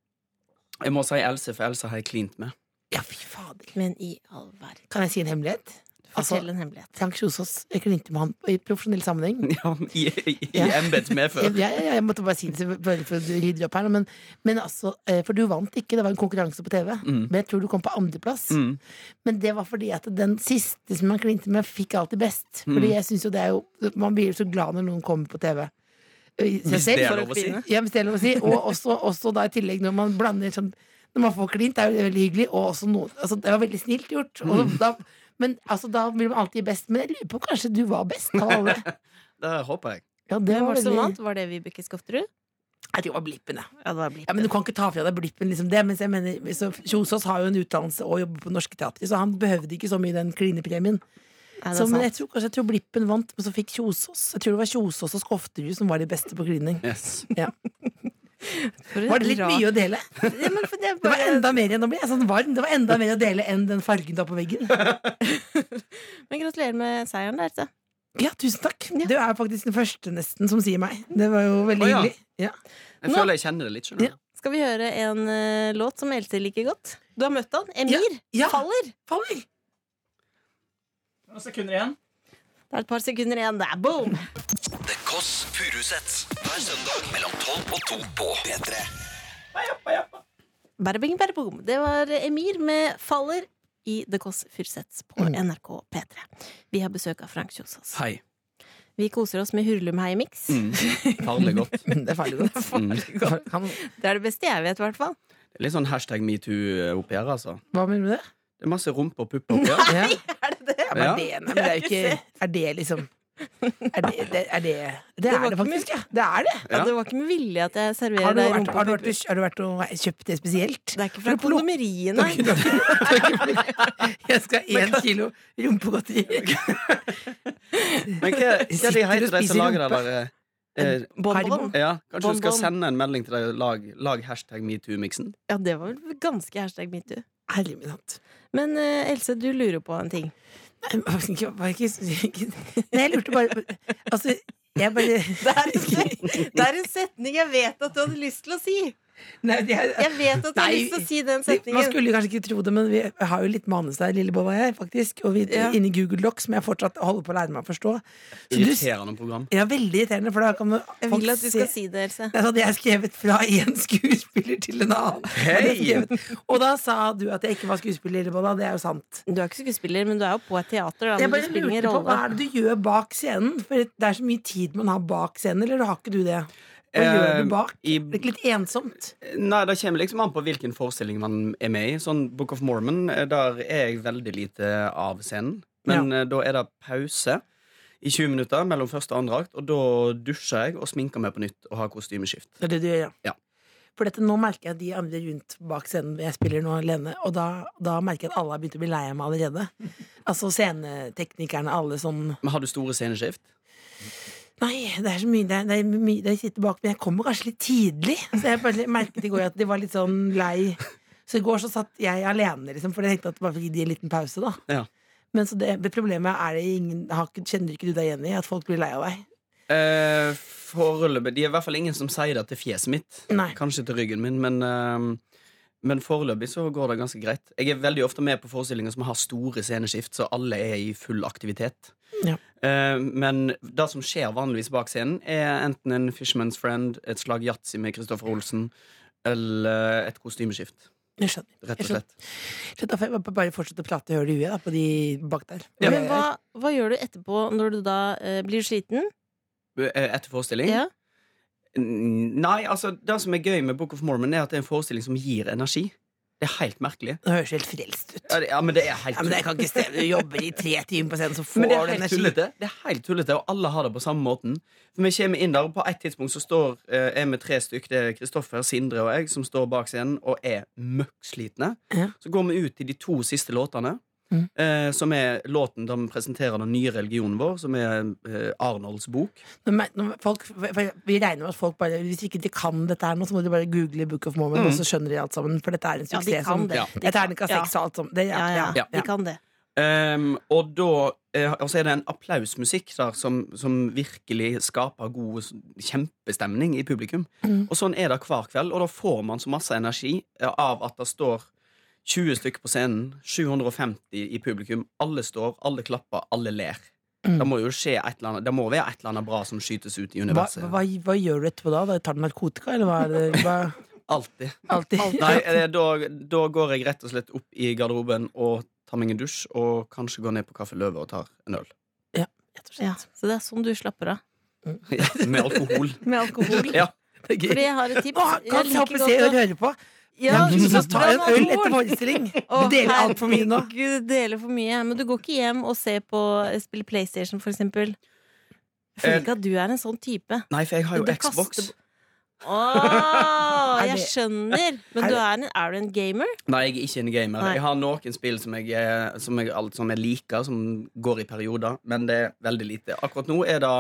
F: Jeg må si Else, for Else har jeg klint med. <laughs>
D: ja, fy fader.
C: Men i all verden.
D: Kan jeg si en hemmelighet? Altså,
C: Mm. Fortell en hemmelighet.
D: Frank Kjosås jeg klinte med han i profesjonell sammenheng.
F: Ja, I i, i
D: Ja.
F: embets medfør.
C: <laughs>
D: Jeg, jeg, jeg måtte bare si det så- bare for å rydde opp her, men, men altså, eh, for du vant ikke, det var en konkurranse på TV.
F: Mm.
D: Men jeg tror du kom på andreplass.
F: Mm.
D: Men det var fordi at den siste som man klinte med, fikk alltid best.
F: Mm.
D: Fordi jeg synes jo det er jo Man blir jo så glad når noen kommer på TV. I seg
F: Hvis det
D: selv.
F: er lov å si.
D: Ja, hvis det er lov å si. Og også, også da i tillegg når man blander sånn Når man får klint, er jo det veldig hyggelig. Og også noen altså, Det var veldig snilt gjort. Og
F: Mm.
D: da, men altså, da blir man alltid best. Men jeg lurer på kanskje du var best av
F: <laughs>
D: alle.
F: Det håper jeg.
D: Ja, det
C: Hvem var det som
D: veldig-
C: vant? Var det Vibeke Skofterud?
D: Jeg tror det var blippen, ja.
C: Ja, det var Blipp.
D: ja. Men du kan ikke ta fra deg blippen, liksom det. Mens jeg mener, så Kjosås har jo en utdannelse og jobber på Norske Teatret, så han behøvde ikke så mye den klinepremien.
C: Nei, det er
D: Så, men
C: sant.
D: jeg tror, kanskje, jeg tror Blippen vant, men så fikk Kjosås. Jeg tror det var Kjosås og Skofterud som var de beste på klining.
F: Yes.
D: Ja.
C: For et
D: Var <laughs> det litt
C: rart-
D: mye å <laughs> dele?
C: Ja, men for det
D: Det var
C: bare-
D: enda mer enn å bli jeg er sånn varm. Det var enda mer å dele enn den fargen du har på veggen.
C: Men gratulerer med seieren der, Else.
D: Ja, tusen takk. Du er faktisk den første nesten som sier meg. Det var jo veldig
F: Å, ja.
D: hyggelig. Ja.
F: Jeg
C: Nå-
F: føler jeg kjenner det litt. skjønner du.
C: Skal vi høre en eh, låt som Else liker godt? Du har møtt han. Emir
D: Ja,
C: faller.
D: faller.
G: Noen sekunder igjen.
C: Det er et par sekunder igjen. Det er boom!
B: The Kåss Furuseths. Hver søndag mellom 12 og 2 på P3.
C: Bada bing, bada boom. Det var Emir med 'Faller' i The Kåss Furuseths på
D: Mm.
C: NRK P3. Vi har besøk av Frank Kjosås.
F: Hei.
C: Vi koser oss med Hurlumhei-miks.
F: Mm. Farlig
C: <laughs>
F: godt.
D: <laughs> Det er farlig godt.
F: Mm.
D: Kan,
C: Det er det beste jeg vet, i hvert fall.
F: Litt sånn hashtag metoo oppi her, altså.
D: hva mener du med det? <laughs>
F: Det er masse rumpe og pupper oppi her.
D: Ja.
C: Er det det?
D: Ja, men
F: Ja.
D: det, nei, men det er jo ikke Er det liksom Er det det, er det, det, er
C: var
D: det
C: ikke
D: faktisk, ja. Det er det.
C: Ja,
F: Ja.
C: det var ikke med vilje at jeg serverer
D: Har du
C: deg
D: vært, har du
C: rumpepuler.
D: vært, har du vært og kjøpt det spesielt?
C: Det er ikke fra
D: Har du plukket-
C: kondomeriet, nei.
D: Jeg skal ha én kilo rumpegodteri.
F: Men hva, hva de
D: Sitter og
F: heter de
D: spiser
F: som lager
D: rumpe.
F: det der? eh, eh,
C: Bonbon.
D: Haribo.
F: ja, kanskje du skal
C: Bonbon.
F: sende en melding til deg lag, lag hashtag metoo-miksen?
C: <laughs> Ja, det var vel ganske hashtag metoo.
D: Herlig min hatt.
C: Men eh, Else, du lurer på en ting.
D: Nei, men faktisk ikke- bare ikke- ikke- Nei, jeg lurte bare Altså, jeg bare
C: Det er,
D: <laughs>
C: en set- det er en setning jeg vet at du hadde lyst til å si!
D: Nei, jeg-
C: Jeg vet at du har
D: Nei,
C: lyst til å si den
D: Man
C: setningen.
D: skulle kanskje ikke tro det, men vi har jo litt manus der, Lillebolla og jeg, faktisk. Og vi
C: Ja.
D: inni Google Docs, som jeg fortsatt holder på å lære meg å forstå. Så du,
F: Irriterende program.
D: ja, veldig irriterende, for da kan man-
C: Jeg
D: folk
C: vil at du skal
D: se-
C: si det, Else.
D: Jeg hadde jeg skrevet fra én skuespiller til en annen. Hadde jeg skrevet. Og da sa du at jeg ikke var skuespiller, Lillebolla. Det er jo sant.
C: Du er ikke skuespiller, men du er jo på et teater. Da,
D: Jeg
C: men
D: bare
C: det spiller ingen
D: lurte på
C: rolle.
D: hva er det du gjør bak scenen? For det er så mye tid man har bak scenen, eller har ikke du det? Hva gjør du
F: Eh,
D: bak?
F: i-
D: Det er ikke litt ensomt.
F: Nei, Det kommer liksom an på hvilken forestilling man er med i. Sånn Book of Mormon, eh, der er jeg veldig lite av scenen. Men eh, da er det pause i 20 minutter mellom første og andre akt, og da dusjer jeg og sminker meg på nytt og har kostymeskift.
D: Det er det du gjør,
F: Ja.
D: For dette, nå merker jeg at de andre rundt bak scenen jeg spiller nå alene, og da, da merker jeg at alle har begynt å bli lei av meg allerede. Altså sceneteknikerne, alle sånn
F: Men har du store sceneskift?
D: Nei, det er så mye det er, det er mye det sitter bak, men jeg kommer kanskje litt tidlig. Så jeg bare merket i går at de var litt sånn lei. Så i går så satt jeg alene, liksom, for jeg tenkte at bare fordi de en liten pause, da.
F: Ja.
D: Men så det, problemet er det ingen har, ikke- Kjenner ikke du deg igjen i at folk blir lei av deg?
F: Eh, foreløpig Det er i hvert fall ingen som sier det til fjeset mitt.
D: Nei.
F: Kanskje til ryggen min, men, eh, men foreløpig så går det ganske greit. Jeg er veldig ofte med på forestillinger som har store sceneskift, så alle er i full aktivitet.
D: Ja.
F: Eh, men det som skjer vanligvis bak scenen, er enten en Fishman's Friend, et slag yatzy med Kristoffer Olsen, eller et kostymeskift.
D: Jeg skjønner.
F: Rett
D: Jeg
F: og slett.
D: Så Da får jeg bare- bare fortsette å prate høl i huet da, på de bak der.
F: Ja.
C: Men hva, hva gjør du etterpå når du da eh, blir sliten?
F: Eh, Etter forestilling?
C: Ja.
F: N- Nei, altså, det som er gøy med Book of Mormon, er at det er en forestilling som gir energi. Det er helt merkelig.
D: Det høres helt frelst ut.
F: Ja, det, ja men det er helt
D: Ja, men jeg kan ikke
F: <laughs>
D: stemme. Du jobber i tre timer på scenen, så får
F: Men det
D: du
F: er helt
D: energi.
F: tullete. Det er helt tullete, og alle har det på samme måten. For vi kommer inn der, og på et tidspunkt så står eh, er vi tre stykk, det er Kristoffer, Sindre og jeg, som står bak scenen og er møkkslitne.
D: Ja.
F: Så går vi ut i de to siste låtene,
D: Mhm.
F: eh, som er låten de presenterer den nye religionen vår, som er eh, Arnolds bok.
D: Nå mer- nå- folk, for vi regner med at folk bare Hvis ikke de kan dette her nå, så må de bare google Book of Mormon, og så skjønner de alt sammen. For dette er en
C: Ja,
D: suksess.
C: de kan
D: som-
C: det.
F: Ja.
C: De
D: Det er
C: kan-
D: terningkast seks og alt sånt. Det, er-
C: Ja, ja, ja.
D: ja.
C: De kan det.
F: Ehm, og da eh, og så er det en applausmusikk der som, som virkelig skaper god s- kjempestemning i publikum.
D: Mm.
F: Og sånn er det hver kveld, og da får man så masse energi eh, av at det står 20 stykker på scenen, 750 i publikum, alle står, alle klapper, alle ler. Det må jo skje et eller annet Det må være et eller annet bra som skytes ut i
D: Mm. Hva,
F: universet.
D: hva, hva gjør du etterpå da? da? Tar du narkotika, eller hva er det?
C: <laughs>
D: Hva,
F: Alltid.
D: alltid.
F: Nei, eh, da, da går jeg rett og slett opp i garderoben og tar meg en dusj, og kanskje går ned på Kaffe Løve og tar en øl.
D: Rett og slett.
C: Ja, så det er sånn du slapper av.
F: Ja, Med <laughs> alkohol.
C: Med alkohol.
F: Ja.
D: Det er
C: Fordi
D: gøy.
C: jeg har et tips.
D: Å,
C: Jeg
D: kan
C: liker
D: håpe
C: godt
D: se
C: å-
D: og høre på.
C: Ja,
D: men så
C: slapp
D: tar jeg
C: av
D: en øl
C: med
D: etter
C: alkohol.
D: forestilling.
C: <laughs> Å,
D: Du deler alt for mye nå.
C: herregud, Du deler for mye. Men du går ikke hjem og ser på spille PlayStation, for eksempel. Jeg føler
F: Eh,
C: ikke at du er en sånn type.
F: Nei, for jeg har jo
C: Du
F: Xbox.
C: kaster- <laughs> Åh,
D: Er
C: jeg
D: det-
C: skjønner! Men
D: er
C: du
D: det-
C: er, en, er du en gamer?
F: Nei, jeg er ikke en gamer.
C: Nei.
F: Jeg har noen spill som jeg, eh, som, jeg, alt- som jeg liker, som går i perioder, men det er veldig lite. Akkurat nå er det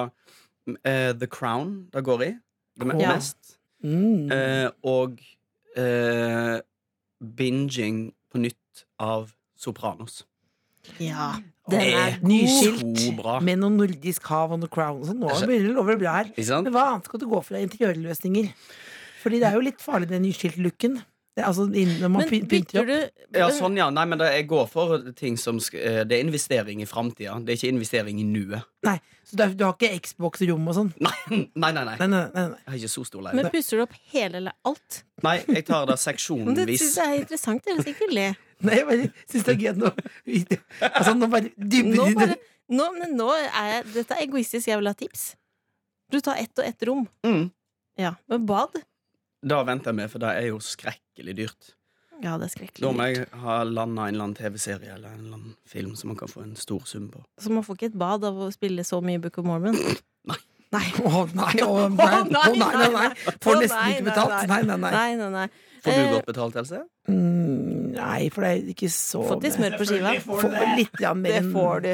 F: eh, The Crown det går i. Det me-
D: Ja.
F: mest.
D: Mm.
F: Eh, og eh, binging på nytt av Sopranos.
C: Ja.
D: Det
C: Den er
D: er
F: så bra.
D: nyskilt med noe nordisk hav og noe crown. og sånn. nå begynner det å love bra her.
F: Ikke sant?
D: Men hva annet skal du gå for av interiørløsninger? Fordi det er jo litt farlig, den nyskilt-looken. Det er Altså, innen- når man
C: Men
D: py- pynter
C: bytter
D: opp.
C: du
F: Ja, sånn, ja. Nei, men det, jeg går for ting som sk- eh, Det er investering i framtida. Det er ikke investering i nuet. <clears throat>
D: Nei, så du, du har ikke Xbox-rom og sånn?
F: Nei, nei, nei. nei.
D: Nei, nei, nei, nei.
F: Jeg har ikke så stor
C: Men
F: leilighet.
C: pusser du opp hele eller alt?
F: Nei, jeg tar det
D: Mm,
C: Men Det
F: seksjonvis.
C: syns jeg er interessant. Dere skal ikke
D: <laughs>
C: le.
D: nei jeg bare syns det er gøy at nå Altså, nå bare
C: Nå,
D: dybber du
C: bare, nå, men nå er jeg Dette er egoistisk. Jeg vil ha tips. Du tar ett og ett rom.
F: Mm.
C: Ja, Men bad?
F: Da venter jeg med, for det er jo skrekkelig dyrt.
C: Ja, det er
F: Da må
C: skrekkelig.
F: jeg ha landa en eller annen TV-serie eller en eller annen film som man kan få en stor sum på.
C: Så man får ikke et bad av å spille så mye Book of
D: <laughs>
C: Mormon. Nei.
D: Å nei, å nei, å nei, nei, nei, Får
C: Å,
D: nesten
C: nei,
D: ikke
C: nei,
D: betalt. Nei, nei, nei.
C: Nei, nei, nei.
F: Får du
C: Eh,
F: godt betalt, Else?
D: Mm, nei, for det er ikke så
C: Fått litt smør på skiva.
G: Selvfølgelig får du
D: Får
G: det.
D: litt ja, mer
C: Det
D: enn-
C: får du.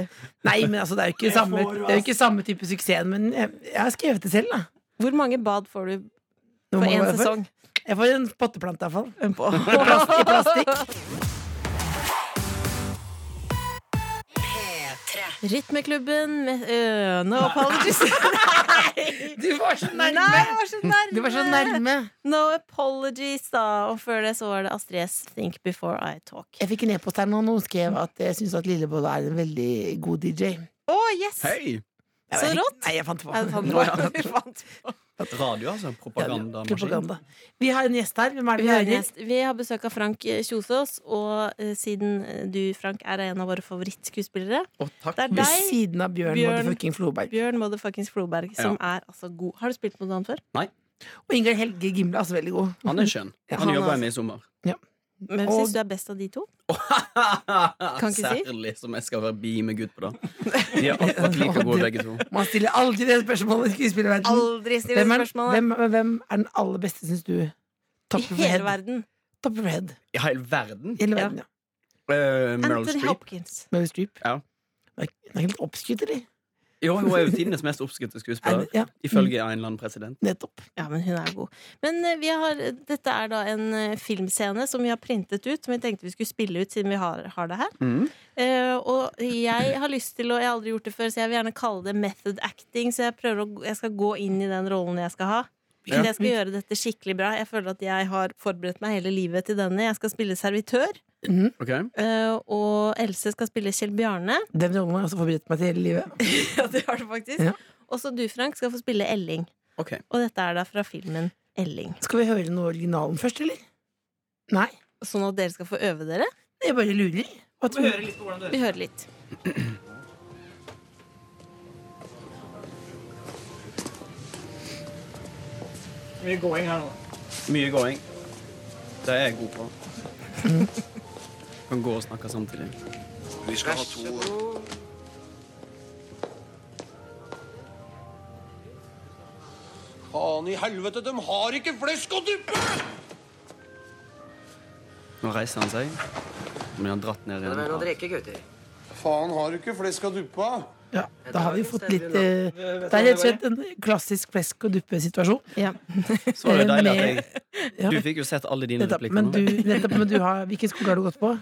D: Nei, men altså, det er jo ikke,
G: Det
D: samme,
G: får du,
D: det er jo ikke samme type suksessen, men jeg, jeg har skrevet det selv, da.
C: Hvor mange bad får du
D: Nå
C: for
D: må
C: én
D: jeg-
C: sesong?
D: Jeg får en potteplante, iallfall.
C: Plast i plastikk. Rytmeklubben med øh, No
D: <laughs>
C: apologies. Nei!
D: Du var så
C: Nei, jeg var så nærme.
D: Du var så nærme.
C: No apologies, da. Og før det så var det Astrid S. Think Before I Talk. Å,
D: Jeg fikk en e-post her nå, og noen skrev at jeg syns at Lillebolle er en veldig god DJ.
C: yes!
F: Hei!
D: Jeg
C: Så
D: vet-
C: rått.
D: Nei, jeg fant på.
C: Jeg
D: <laughs>
C: fant
D: Nå er
C: på.
D: det-
C: Vi fant på.
F: Radio, altså.
D: Ja,
F: Propagandamaskin.
D: Propaganda. Vi har en gjest her. Hvem er
C: Vi
D: det vi
C: har, en
D: hører?
C: gjest. vi har besøk av Frank Kjosås, og eh, siden eh, du, Frank, er en av vore favorittskuespillere,
F: Å, takk.
C: det er
D: Ved
C: deg,
D: siden av Bjørn,
C: Bjørn.
D: motherfucking Floberg.
C: Bjørn Motherfuckings Floberg, som er altså god. Har du spilt mot han før?
D: Og Ingar Helge Gimle er også veldig god.
F: Han er skjønn.
D: Ja,
F: Han
C: han
F: jobba
C: er-
F: med i
C: <laughs>
F: sommer.
C: Men
D: Og-
C: syns du er best av de to? ikke si.
F: Særlig som jeg skal være bi med gutt
C: <laughs>
F: på, da. De er akkurat like gode, begge to.
D: Man stiller aldri det spørsmålet i skuespillerverdenen.
C: Aldri stille
D: Hvem er,
C: spørsmål!
D: hvem, hvem er den aller beste, syns du? Top
C: I
D: of
C: hele
D: head.
C: verden.
D: Top of head.
F: I hele verden.
D: Hele
C: Ja.
D: verden, ja.
F: Eh, Meryl
C: Anthony
F: Streep.
C: Hopkins.
D: Meryl Streep.
F: Ja.
D: Hun er- hun er helt oppskrytt, eller?
F: Jo, hun er jo tidenes mest oppskrytte
D: Er
F: skuespiller.
D: det- Ja,
F: Ifølge en eller annen president.
D: nettopp.
C: Ja, men hun er god. Men eh, vi har, dette er da en eh, filmscene som vi har printet ut, som vi tenkte vi skulle spille ut siden vi har, har det her. Eh, og jeg har lyst til, og jeg har aldri gjort det før, så jeg vil gjerne kalle det method acting. Så jeg, prøver å, jeg skal gå inn i den rollen jeg skal ha.
F: Ja.
C: Men jeg skal gjøre dette skikkelig bra. Jeg føler at jeg har forberedt meg hele livet til denne. Jeg skal spille servitør,
F: Ok.
C: eh, og Else skal spille Kjell Bjarne.
D: Den rollen har jeg også forberedt meg til hele livet.
C: <laughs> Ja, det har du faktisk.
D: Ja.
C: Også du, Frank, skal få spille Elling.
F: Ok.
C: Og dette er da fra filmen Elling.
D: Skal vi høre noe originalen først, eller? Nei.
C: Sånn at dere skal få øve dere.
D: Jeg bare lurer. Hva
G: Få
D: tror
G: høre
D: du?
G: litt på hvordan det høres.
C: Vi hører litt.
G: Mye gåing her nå.
F: Mye gåing. Det er jeg god på. Kan gå og snakke samtidig.
B: Vi skal ha to
H: Faen i helvete, de har ikke flesk å duppe!
F: Nå reiser han seg, men han har dratt ned
I: Men å
F: igjen.
I: drikke, gutter.
H: Faen, har du ikke flesk å duppe?
D: Ja, da har vi fått litt eh, Det er rett og slett en klassisk flesk og duppe-situasjon.
F: Så var det
D: Eh,
F: deilig at
D: med-
F: jeg
D: Ja.
F: Du fikk jo sett alle dine
D: Nettopp,
F: replikker
D: men
F: nå.
D: du, nettopp, men du har, hvilken skole har du gått på?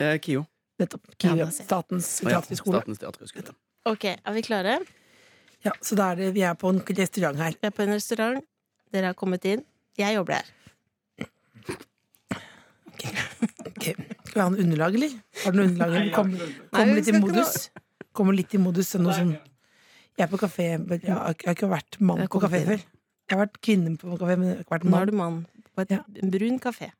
F: Eh, Kio.
D: Nettopp,
C: Ja,
D: Kiwi,
C: da ser jeg.
D: Statens
F: Å ja,
D: teaterskole.
F: Statens teaterhøgskole.
C: Ok, er vi klare?
D: Ja, så da er det, vi er på en restaurant her.
C: Vi er på en restaurant. Dere har kommet inn. Jeg jobber her.
D: Ok, Skal vi ha en underlag, eller? Har du noe underlag? eller? Kom, kom
C: Nei, vi
D: litt i
C: skal ikke
D: modus. Kommer litt i modus sånn, noe sånn. Jeg er på kafé, men jeg har, jeg har ikke vært mann
C: Jeg har
D: på kafé
C: kommet inn.
D: før. Jeg har vært kvinne på kafé, men jeg har ikke vært
C: Nå er
D: mann.
C: du mann på et
D: Ja.
C: brun kafé.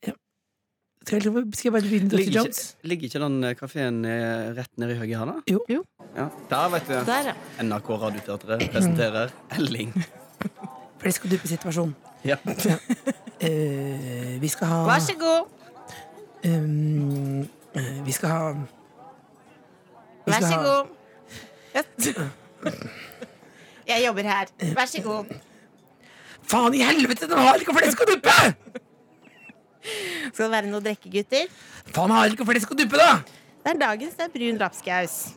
D: Skal jeg, skal jeg bare begynne Dr.
F: Ligger
D: Jones?
F: ikke, ligger ikke den kafeen rett nede i høyre her, da?
D: Jo.
C: Jo.
F: Ja. Der, vet du.
C: Der, ja.
F: NRK Radioteatret presenterer Elling.
D: Flesk og duppe-situasjon.
F: Ja.
D: Eh, vi skal ha
C: Vær så god.
D: Um, eh, vi skal ha vi
C: Vær
D: skal
C: så
D: ha-
C: god. Jeg- Jeg jobber her. Vær så god.
D: Faen i helvete, den har ikke flesk og duppe!
C: Skal det være noe å drikke, gutter?
D: Faen, har ikke flesk og duppe, da!
C: Det er dagens. Det er brun lapskaus.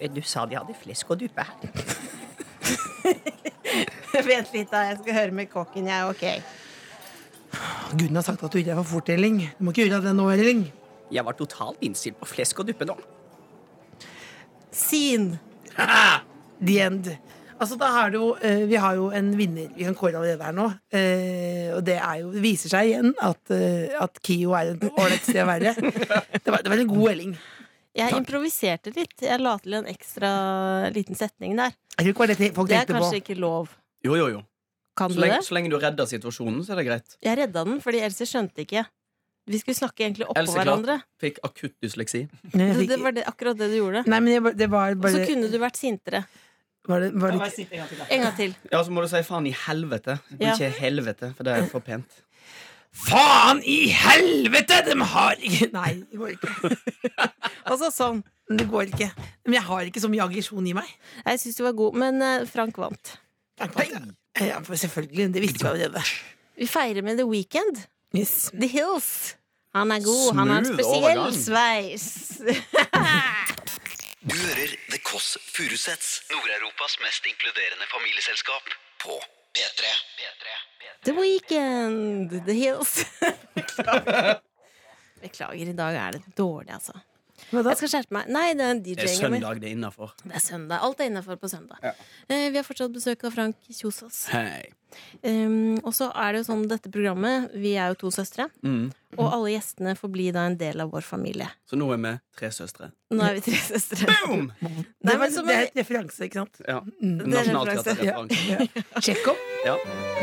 I: Eh, Du sa de hadde flesk å duppe.
C: <laughs> Vent litt, da. Jeg skal høre med kokken, jeg. Ok.
D: Gunn Ah, har sagt at du ikke er for fort, Elling. Du må ikke gjøre det nå, Elling.
I: Jeg var totalt innstilt på flesk å duppe nå.
C: Sin.
D: The end. Altså, da har du, jo, eh, vi har jo en vinner vi kan kåre allerede her nå. Eh, og det, er jo, det viser seg igjen at, eh, at KIO er et ålreit sted å
C: <laughs>
D: være. Det var, det var en god Elling.
C: Jeg improviserte litt. Jeg la til en ekstra liten setning der.
D: Jeg tror ikke det var det te- folk
C: Det er
D: tenkte
C: kanskje
D: på.
C: ikke lov.
F: Jo, jo, jo.
C: Kan
F: Så
C: du
F: lenge,
C: det?
F: så lenge du redder situasjonen, så er det greit.
C: Jeg redda den, fordi Else skjønte ikke. Vi skulle snakke egentlig oppå
F: Else, klart.
C: hverandre.
F: Fikk akutt dysleksi.
D: Nei, jeg
C: Det, det
D: fikk-
C: var det, akkurat det du gjorde.
D: Nei, men jeg, bare- det var
C: Og så
D: bare
C: kunne du vært sintere.
D: var det, var
G: Ja,
D: det,
G: bare sitt en gang til, da.
C: En gang til.
F: Ja, så må du si faen i helvete.
C: Ja.
F: Ikke helvete, for det er for pent.
D: Faen i helvete! De har ikke <laughs> Nei, det går ikke.
C: <laughs> Altså sånn.
D: Det går ikke. Men jeg har ikke så mye aggresjon i meg.
C: Jeg syns du var god, men eh, Frank vant.
D: Ja, for selvfølgelig. Det visste vi allerede.
C: Vi feirer med The Weekend.
D: Yes.
C: The Hills. Han er god. han har en
F: Smooth
C: spesiell
F: overgang.
C: sveis. <laughs>
B: Du hører The Kåss Furuseths, Nord-Europas mest inkluderende familieselskap, på P3.
C: The Weekend, The Hills. <laughs> Beklager. Beklager, i dag er det dårlig, altså.
D: Hva da?
C: Jeg skal skjerpe meg. Nei, det er
F: Det er
C: DJ-en min.
F: søndag det er innafor.
C: Det er søndag. Alt er innafor på søndag. Eh, vi har fortsatt besøk av Frank Kjosås.
F: Hei.
C: Um, og så er det jo sånn dette programmet, vi er jo to søstre,
F: Mm.
C: og alle gjestene får bli da en del av vår familie.
F: Så nå er vi tre søstre.
C: Nå er vi tre søstre.
F: Boom!
C: Nei,
D: Det,
C: men
D: var,
C: som-
D: det er et referanse, ikke sant?
F: Ja.
C: er en
F: Nasjonalteaterreferanse.
D: Tsjekkov.
F: Ja.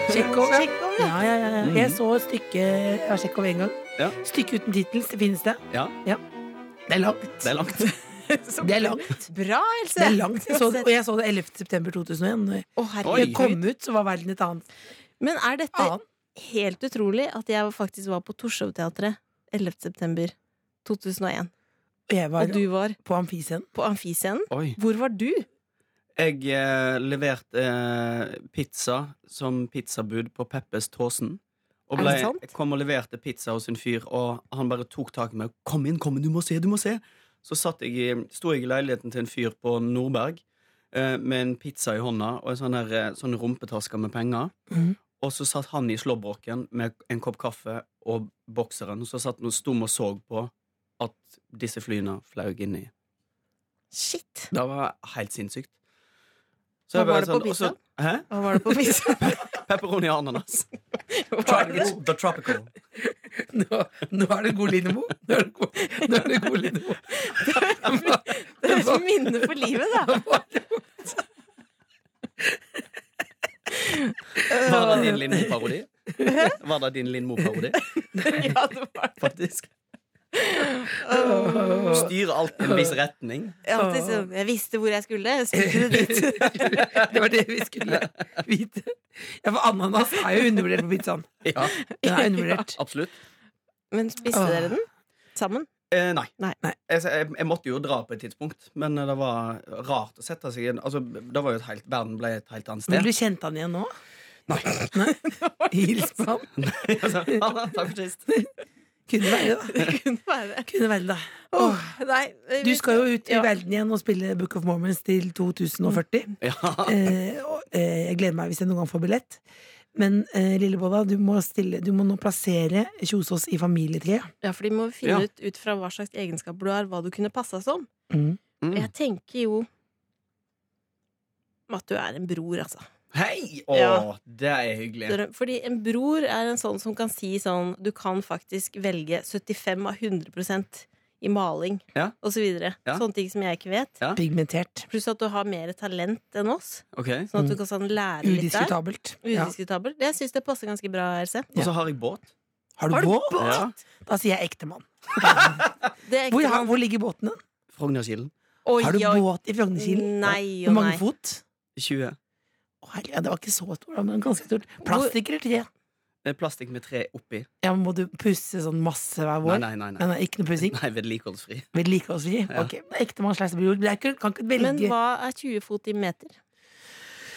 D: Tsjekkov, ja.
C: Tsjekkov,
D: Ja, ja, ja,
C: Mm.
D: ja. Jeg så et stykke av Tsjekkov en gang.
F: Ja.
D: Stykke uten tittel. Det finnes det.
F: Ja.
D: Det er langt.
F: Det er langt.
C: Så
D: <laughs> Det er langt.
C: Bra, Else!
D: Det er langt. Jeg så det, og jeg så det 11. september 2001. Når
C: Å,
F: Oi.
C: herregud.
D: jeg kom ut, så var verden et annet.
C: Men er dette
D: annet.
C: helt utrolig at jeg faktisk var på Torshov-teatret 11. september 2001?
D: Og jeg var
C: Og du var
D: på amfiscenen.
C: på Amfiscenen?
F: Oi.
C: Hvor var du?
F: Jeg eh, leverte eh, pizza som pizzabud på Peppes Tåsen. Og
C: Er
F: ble,
C: det sant?
F: jeg kom og leverte pizza hos en fyr, og han bare tok tak i meg. og, 'Kom inn, kom inn, du må se, du må se!' Så satt jeg, i- sto jeg i leiligheten til en fyr på Nordberg eh, med en pizza i hånda og en sånn, her, eh, sånn rumpetaske med penger.
D: Mhm.
F: Og så satt han i slåbroken med en kopp kaffe og bokseren, og så satt han og stum og så på at disse flyene flaug inni.
C: Shit!
F: Det var helt sinnssykt.
C: Hva
F: jeg bare sånn,
C: var det på
F: og så- Hæ?
C: Hva var det på pizzaen?
F: Pepperoni og
C: <laughs>
F: ananas.
C: Var det det?
F: The tropical.
D: Nå, nå er det god Lindemo. Nå er det god, nå er det god Lindemo.
C: Det er et minne for livet, da. Eh,
F: Var det din Lindmo-parodi? Var det din
C: <laughs>
F: Lindmo-parodi?
C: Ja, det var det.
F: Faktisk.
C: Eh.
F: Styrer Eh, alt i en viss retning.
C: Jeg, er alltid sånn, jeg visste hvor jeg skulle. Jeg
D: <laughs>
C: spilte det dit.
D: <laughs> Det var det vi skulle vite. Ja, for ananas er jo undervurdert på pizzaen.
F: Ja,
D: Den
C: <laughs>
D: er undervurdert.
F: absolutt.
C: Men spiste
D: Åh.
C: dere den? Sammen?
F: Eh, nei.
C: Nei.
F: Jeg, jeg, jeg måtte jo dra på et tidspunkt, men eh, det var rart å sette seg i en- altså, Det var jo et helt, Verden ble et helt
C: <laughs>
D: Men
F: annet sted.
D: du kjente han igjen nå? <laughs> Nei. Hils på han.
F: Altså, ah, Takk for sist.
D: Kunne være det, da.
C: Det kunne være.
D: Kunne være det, da.
C: Åh, nei,
D: Du skal jo ut i
C: Ja. Mm.
D: verden igjen og spille Book of Mormons til 2040.
F: <laughs> Ja.
D: Eh, og, eh, jeg gleder meg hvis jeg noen gang får billett. Men eh, Lillebolla, du, må stille- du må nå plassere Kjosås i familietreet.
C: Ja, for de må finne
F: Ja.
C: ut ut fra hva slags egenskaper du har, hva du kunne passa som.
D: Mm.
F: Mm.
C: Jeg tenker jo at du er en bror, altså.
F: Hei! Å,
C: Ja.
F: det er hyggelig.
C: Dere- Fordi en bror er en sånn som kan si sånn Du kan faktisk velge 75 av 100 i maling
F: Ja.
C: og så videre.
F: Ja.
C: Sånne ting som jeg ikke vet.
F: Ja.
D: Pigmentert.
C: Pluss at du har mer talent enn oss,
F: Ok.
C: sånn at du kan sånn lære litt der.
D: Udiskutabelt. Mm. Ja.
C: Udiskutabelt. Jeg syns det passer ganske bra, Else.
F: Og så har jeg båt.
D: Har du
C: Har du
D: båt?
C: båt?
F: Ja.
D: Da sier jeg ektemann.
C: Det er ekte
D: Hvor, har-
C: mann.
D: hvor ligger båten? den?
F: Frognerkilen.
C: Oi,
D: Har du
C: oi.
D: båt i Frognerkilen?
C: Nei
D: Hvor
C: og
D: mange
C: nei.
D: fot?
F: 20.
D: Å, herlig, ja, det var ikke så stort, da, men ganske stort. Plastikk eller tre?
F: Det er Eh, plastikk med tre oppi.
D: Ja, men Må du pusse sånn masse hver
F: Nei,
D: vår?
F: nei, nei.
D: Nei,
F: nei.
D: nei, ikke noe pussing.
F: nei Vedlikeholdsfri.
D: Vedlikeholdsfri.
F: Ja.
D: Ok, Ektemann slags bror. Det er ikke, kan ikke velge.
C: Men hva er 20 fot i meter?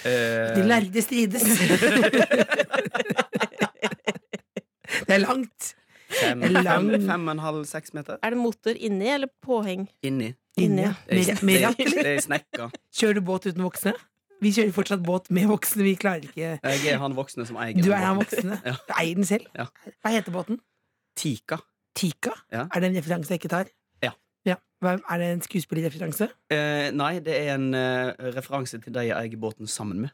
D: De
F: Eh,
C: <laughs>
D: lærde strides. det er langt.
F: fem,
D: Lang-
F: fem, fem og en halv, seks meter.
C: Er det motor inni eller påheng?
F: Inni.
C: Inni.
F: Det
D: Mer,
F: er-
D: mer
F: det er-
D: jakk, eller?
F: Det er snekka.
D: Kjører du båt uten voksne? Vi kjører fortsatt båt med voksne. Vi klarer ikke
F: Jeg er han voksne som eier
D: Du
F: den
D: er han
F: båten.
D: voksne.
F: <laughs> Ja.
D: Du eier den selv.
F: Ja.
D: Hva heter båten?
F: Tika.
D: Tika?
F: Ja.
D: Er det en referanse jeg ikke tar?
F: Ja.
D: Hva- Er det en skuespillerreferanse?
F: Eh, nei, det er en eh, referanse til de jeg eier båten sammen med.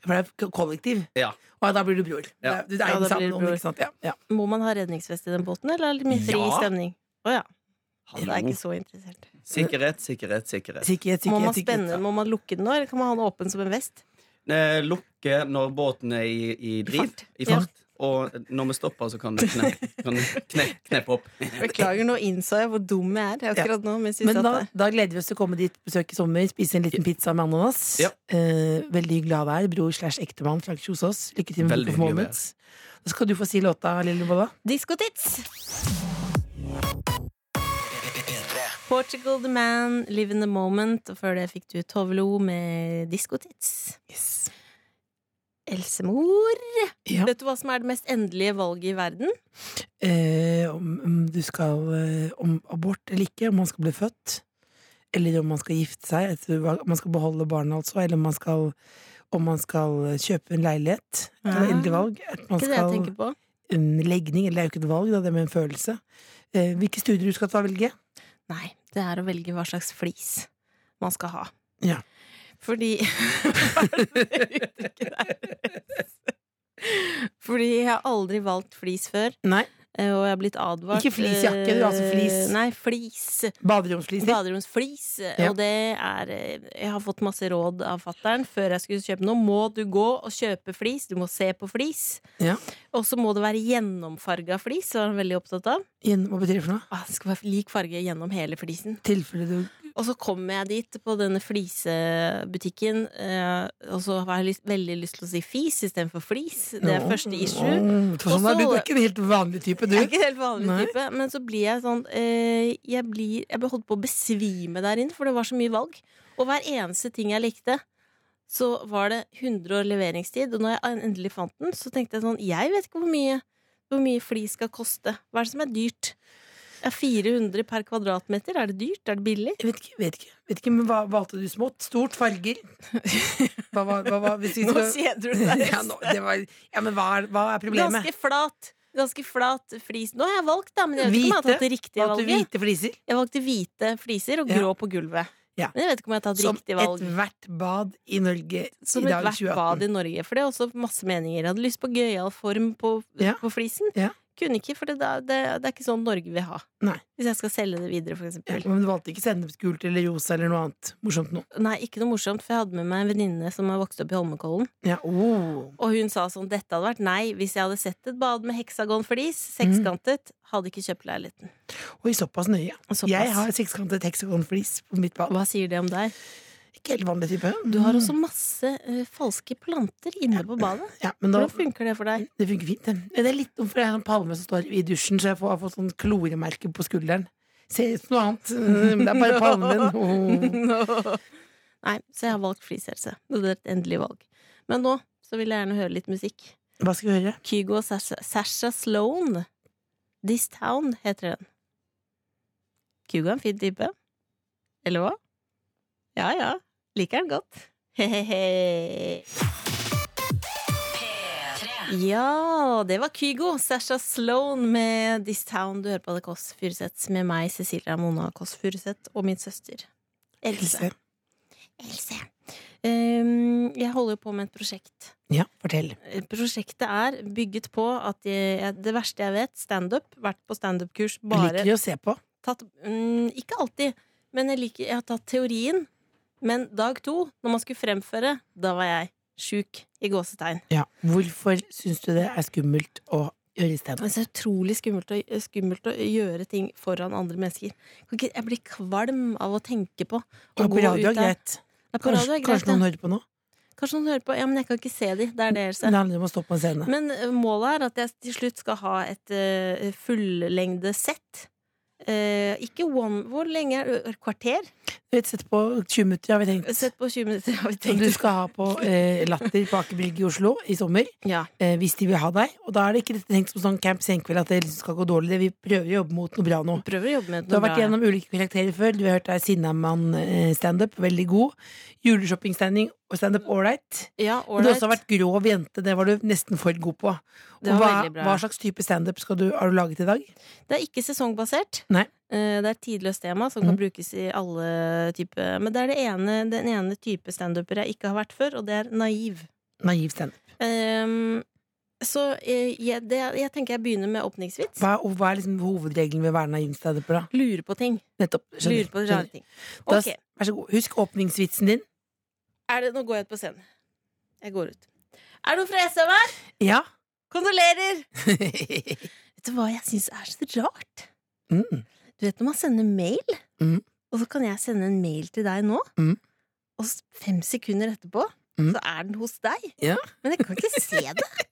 D: For det er k- kollektiv.
F: Ja.
D: Og da blir du bror.
F: Ja.
D: Du eier
C: Ja, da
D: den
C: blir
D: sammen
C: du
D: om,
C: bror.
D: ikke sant? Ja. Ja.
C: Må man ha redningsvest i den båten, eller er det litt fri
F: Ja.
C: stemning? Å ja. Da er jeg
F: Hallo.
C: ikke så interessert.
F: Sikkerhet, sikkerhet, sikkerhet.
D: Sikkerhet,
C: Må man
D: sikkerhet,
C: spenne,
D: sikkerhet.
C: må man lukke den nå,
D: <laughs>
C: eller kan man ha den åpen som en vest?
F: Eh, lukke når båten er i, i driv.
C: Fart.
F: I fart. og når vi stopper, så kan du kne- kan du kne- kneppe opp.
C: Beklager, nå innså jeg hvor dum jeg er akkurat nå. Men jeg synes
D: Men da,
C: at det-
D: da gleder vi oss til å komme dit besøk i sommer, spise en liten pizza med ananas.
F: Ja.
D: Eh, veldig glad vær, bror slash ektemann Frank Kjosås. Lykke til med
F: Veldig hyggelig
D: performance. Da skal du få si låta, Lille Bolla.
C: Diskotits! Portugal The Man, Live in the Moment, og før det fikk du Tovlo med Diskotits.
D: Yes.
C: Elsemor,
D: Ja.
C: vet du hva som er det mest endelige valget i verden?
D: Eh, om, om du skal eh, Om abort eller ikke, om man skal bli født. Eller om man skal gifte seg, altså, hva- om man skal beholde barna, altså. Eller om man skal, om man skal kjøpe en leilighet. Det
C: Ja.
D: er endelig valg. At man
C: Ikke det jeg
D: skal
C: tenker på.
D: en legning, eller det er jo ikke et valg, da, det er med en følelse. Eh, hvilke studier du skal ta og velge?
C: Nei, det er å velge hva slags flis man skal ha.
D: Ja.
C: Fordi Hva er det uttrykket der? Fordi jeg har aldri valgt flis før,
D: Nei.
C: eh, og jeg har blitt advart.
D: Ikke flisjakke, du, altså flis.
C: Eh, Nei, flis.
D: Baderomsfliser?
C: Baderomsflis.
D: Ja.
C: eh, Og det er eh, Jeg har fått masse råd av fattern før jeg skulle kjøpe noe. Må du gå og kjøpe flis? Du må se på flis.
D: Ja.
C: Og så må det være gjennomfarga flis, var han veldig opptatt av.
D: Igjen, Hva betyr det for noe?
C: Ah, Det skal være lik farge gjennom hele flisen.
D: Tilfelle du
C: Og så kommer jeg dit på denne flisebutikken, eh, og så har jeg lyst, veldig lyst til å si fis istedenfor flis. Det er
D: Nå.
C: første issue.
D: Nå, for Sånn er du, du er
C: Også-
D: ikke en helt vanlig type, du.
C: Jeg er ikke helt vanlig
D: Nei.
C: type, men så blir jeg sånn eh, Jeg, blir, jeg ble holdt på å besvime der inne, for det var så mye valg. Og hver eneste ting jeg likte, så var det 100 år leveringstid. Og når jeg endelig fant den, så tenkte jeg sånn Jeg vet ikke hvor mye, hvor mye flis skal koste. Hva er det som er dyrt? Er 400 per kvadratmeter? Er det dyrt? Er det billig?
D: Jeg vet ikke, vet ikke, vet ikke men hva valgte du smått? Stort, farger? <laughs> Hva var, hva var hvis vi
C: Nå
D: skal- <laughs>
C: kjeder du deg.
D: ja, nå, det var, ja, men hva er, hva er problemet?
C: Ganske flat. Ganske flat flis. Nå har jeg valgt, da, men jeg vet ikke om jeg har
D: Hvite?
C: tatt det riktige
D: Valgte du
C: valget.
D: hvite fliser?
C: Jeg valgte hvite fliser og
D: Ja.
C: grå på gulvet.
D: Ja.
C: Men jeg vet ikke om jeg har tatt
D: Som
C: riktig valg.
D: ethvert bad i Norge
C: Som et
D: i dag i
C: hvert bad
D: 2018.
C: i Norge. For det er også masse meninger. Jeg hadde lyst på gøyal form på,
D: Ja.
C: på flisen.
D: Ja.
C: Kunne ikke, for det, er- det, det er ikke sånn Norge vil ha.
D: Nei.
C: Hvis jeg skal selge det videre, for
D: Ja,
C: eksempel.
D: men du valgte ikke sennepsgult eller rosa eller noe annet morsomt nå?
C: Nei, ikke noe morsomt, for jeg hadde med meg en venninne som har vokst opp i Holmenkollen.
D: Ja, oh.
C: Og hun sa sånn, dette hadde vært nei hvis jeg hadde sett et bad med heksagonflis,
D: Mm.
C: sekskantet, hadde ikke kjøpt leiligheten.
D: Oi, såpass nøye.
C: Såpass.
D: Jeg har sekskantet heksagonflis på mitt bad.
C: Hva sier det om deg?
D: Ikke helt vanlig type. Mm,
C: Du har også masse eh, falske planter inne på badet.
D: ja, men da,
C: Hvordan funker det for deg?
D: Det funker fint. Det, det er litt dumt, for det er en palme som står i dusjen, så jeg får, har fått sånn kloremerke på skulderen. Ser ut som noe annet. <laughs> men Det er bare <laughs> palmen. Oh. Åh.
C: Nei, så jeg har valgt flishelse. Det er et endelig valg. Men nå så vil jeg gjerne høre litt musikk.
D: Hva skal vi høre?
C: Kygo og Sasha, Sasha Sloan. This Town heter den. Kygo er en fin type. Eller hva? Ja ja. Liker den godt. Hehehe. Ja, det var Kygo. Sasha Sloan med This Town. Du hører på The Kåss Furuseths med meg, Cecilia Mona Kåss Furuseth, og min søster Else.
D: Else.
C: Else. Ehm, jeg holder jo på med et prosjekt.
D: Ja, fortell.
C: Eh, Prosjektet er bygget på at jeg, det verste jeg vet, standup. Vært på standup-kurs. Bare
D: Liker de å se på?
C: tatt mm, Ikke alltid, men jeg, liker, jeg har tatt teorien. Men dag to, når man skulle fremføre, da var jeg sjuk i gåsetegn.
D: Ja. Hvorfor syns du det er skummelt å gjøre
C: Altså, Det er
D: standup?
C: så utrolig skummelt å, skummelt å gjøre ting foran andre mennesker. Kan ikke- Jeg blir kvalm av å tenke på å
D: Og
C: gå
D: på radio
C: ut
D: er
C: der.
D: greit.
C: Ja, på radio
D: Kanskje,
C: er greit,
D: kanskje
C: ja.
D: noen hører på nå?
C: Kanskje noen hører på. Ja, men jeg kan ikke se de. Det er det, Else.
D: Det handler om å stå på en scene.
C: Men eh, målet er at jeg til slutt skal ha et uh, fullengde sett. Eh, ikke one Hvor lenge er det? Et kvarter?
D: Et sett på 20 minutter, har vi tenkt.
C: Sett på 20 minutter, har vi
D: Som du
C: tenkt.
D: skal ha på eh, Latter på Aker Brygge i Oslo i sommer.
C: Ja.
D: eh, hvis de vil ha deg. Og da er det ikke dette tenkt som sånn Camp Senkveld at det liksom skal gå dårlig. Vi prøver å jobbe mot noe bra nå.
C: Prøver å jobbe med
D: Du har vært
C: bra.
D: gjennom ulike karakterer før. Du har hørt deg Sinnamann-standup, veldig god. Juleshopping-standup og standup ålreit.
C: Ja,
D: Men du
C: ålreit.
D: har også vært grov jente. Det var du nesten for god på.
C: Det
D: Og
C: var
D: hva,
C: veldig bra.
D: hva slags type standup skal du- har du laget i dag?
C: Det er ikke sesongbasert.
D: Nei.
C: Eh, Det er et tidløst tema som kan brukes i alle typer Men det er det ene, den ene type standuper jeg ikke har vært før, og det er naiv.
D: Naiv standup.
C: Ehm, så eh, jeg, det, jeg tenker jeg begynner med åpningsvits.
D: Hva, og hva er liksom hovedregelen ved å være naiv standuper? da?
C: Lurer på ting.
D: Nettopp.
C: Lurer på rare ting.
D: Da,
C: Ok.
D: Vær så god. Husk åpningsvitsen din. <laughs>
C: Er det, nå går jeg ut på scenen. Jeg går ut. Er det noen fra SM her?
D: Ja.
C: Kondolerer! Vet du hva jeg syns er så rart?
D: Mm.
C: Du vet når man sender mail,
D: Mhm.
C: og så kan jeg sende en mail til deg nå,
D: Mhm.
C: og s- fem sekunder etterpå
D: Mhm.
C: så er den hos deg.
D: Ja.
C: Men jeg kan ikke se det.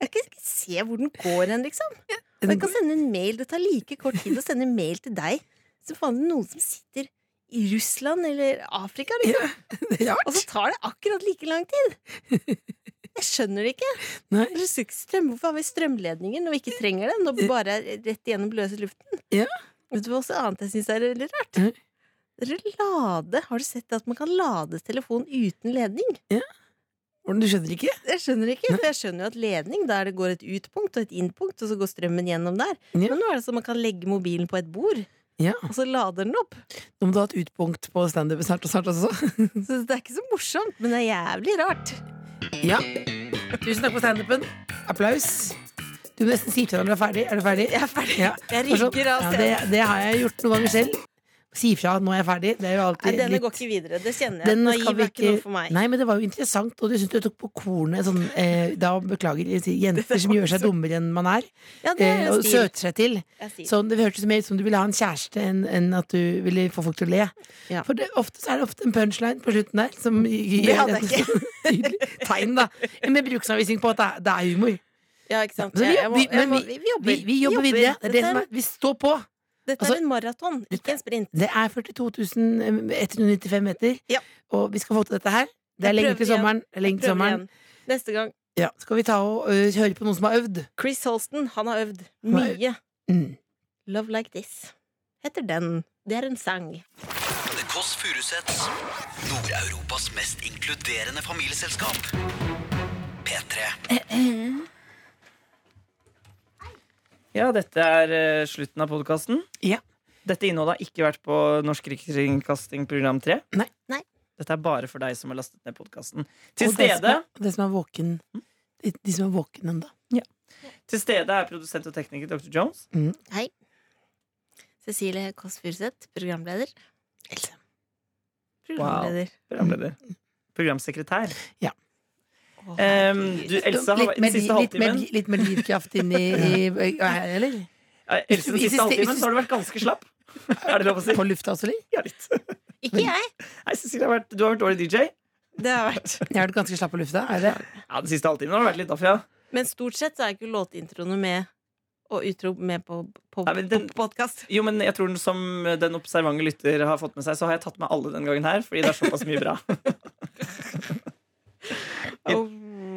C: Jeg kan ikke se hvor den går hen, liksom. Og jeg kan sende en mail. Det tar like kort tid å sende mail til deg som faen noen som sitter i Russland eller Afrika, liksom.
D: <laughs> Det er
C: Og så
D: rart.
C: tar det akkurat like lang tid! Jeg skjønner det ikke.
D: Nei.
C: Jeg skjønner ikke strøm. Hvorfor har vi strømledninger når vi ikke trenger det? Når vi bare er rett igjennom løse luften?
D: Ja.
C: Vet du hva også annet jeg syns er veldig rart?
D: Nei.
C: Dere lade. Har du sett at man kan lade telefon uten ledning?
D: Hvordan, Du skjønner ikke?
C: Jeg skjønner ikke, for jeg skjønner jo at ledning, der det går et ut-punkt og et inn-punkt, og så går strømmen gjennom der.
D: Ja.
C: Men nå er det sånn at man kan legge mobilen på et bord,
D: Ja.
C: og så lader den opp.
D: Nå må du ha et utpunkt på standup snart og snart også. <laughs>
C: Så det er ikke så morsomt, men det er jævlig rart.
D: Ja. Tusen takk for standupen. Applaus. Du nesten sier til deg når du er ferdig. Er du ferdig? Jeg er ferdig. Ja.
C: Jeg
D: Og så-
C: rygger av
D: ja,
C: scenen.
D: det, det har jeg gjort noen ganger selv. Si fra at nå er jeg ferdig. Det er jo alltid
C: Nei, denne
D: litt
C: går ikke videre. Det kjenner jeg.
D: Den
C: Naiv
D: skal
C: er
D: vi
C: ikke noe for meg.
D: Nei, men det var jo interessant, og du syns du tok på kornet sånn eh, Da beklager jeg, sier jenter som gjør seg dummere enn man er,
C: Ja, det er
D: eh,
C: jo
D: og
C: stil.
D: søter seg til.
C: Jeg sier.
D: Sånn, det hørtes mer ut som du ville ha en kjæreste enn enn at du ville få folk til å le.
C: Ja.
D: For det, ofte så er det ofte en punchline på slutten der som
C: Det <laughs>
D: Det
C: hadde jeg
D: <laughs> ikke. Tegn, da. Med bruksanvisning på at det er, det er humor.
C: Ja, ikke sant.
D: Så vi,
C: Jeg må-
D: vi,
C: jeg
D: men
C: må-
D: vi,
C: vi jobber.
D: vi, vi jobber videre. Det er det
C: Dette,
D: som er, vi står på.
C: dette
D: altså-
C: er en maraton, ikke en sprint.
D: Det er eh, 42.195 meter,
C: Ja.
D: og vi skal få til dette her. Det
C: Jeg
D: er lenge
C: prøver igjen.
D: til sommeren. Det er lenge
C: Prøv
D: til sommeren.
C: igjen. Neste gang.
D: Ja. Skal vi ta og ø, høre på noen som har øvd?
C: Chris Holsten, han har øvd
D: Han har
C: mye.
D: Mm.
C: Love Like This heter den. Det er en sang.
B: The Kåss Furuseths. Nord-Europas mest inkluderende familieselskap. P3.
J: Ja, dette er eh, slutten av podkasten.
D: Ja.
J: Dette innholdet har ikke vært på Norsk Rikskringkasting program 3.
D: Nei.
C: Nei.
J: Dette er bare for deg som har lastet ned podkasten. Til,
D: Og det som
J: stede-
D: er- og Det som er våken
C: Mm.
D: de, de som er våken ennå.
J: til stede er produsent og tekniker Dr. Jones.
C: Hei. Cecilie Kåss Furuseth, programleder. Else. Programleder.
J: Programleder.
D: Mm.
J: Programsekretær.
D: Eh,
C: Wow.
J: Em, du, Elsa, har,
D: Litt mer liv-
J: den siste
D: litt mer
J: halvtimen
D: liv- litt mer livkraft
J: <laughs>
D: inn i, i, i Eller?
J: Eh, Else, den
D: Hvis- hvis-
J: siste halvtimen
D: hvis-
J: så har du vært ganske slapp. Er det lov å si?
D: På lufta også, eller?
J: Ja, litt.
C: Ikke jeg!
J: Nei, Cecilie, har vært, du har vært dårlig DJ.
C: Det har vært.
D: Jeg har vært ganske slapp på lufta. Er det?
J: Ja, Den siste halvtimen har du vært litt daff, ja.
C: Men stort sett så er ikke låtintroene med og utrop med på, på,
J: Nei, men den-
C: på podkast.
J: Jo, men jeg tror den, Som den observante lytter har fått med seg, så har jeg tatt med alle den gangen her. Fordi det er såpass
C: <laughs>
J: mye bra.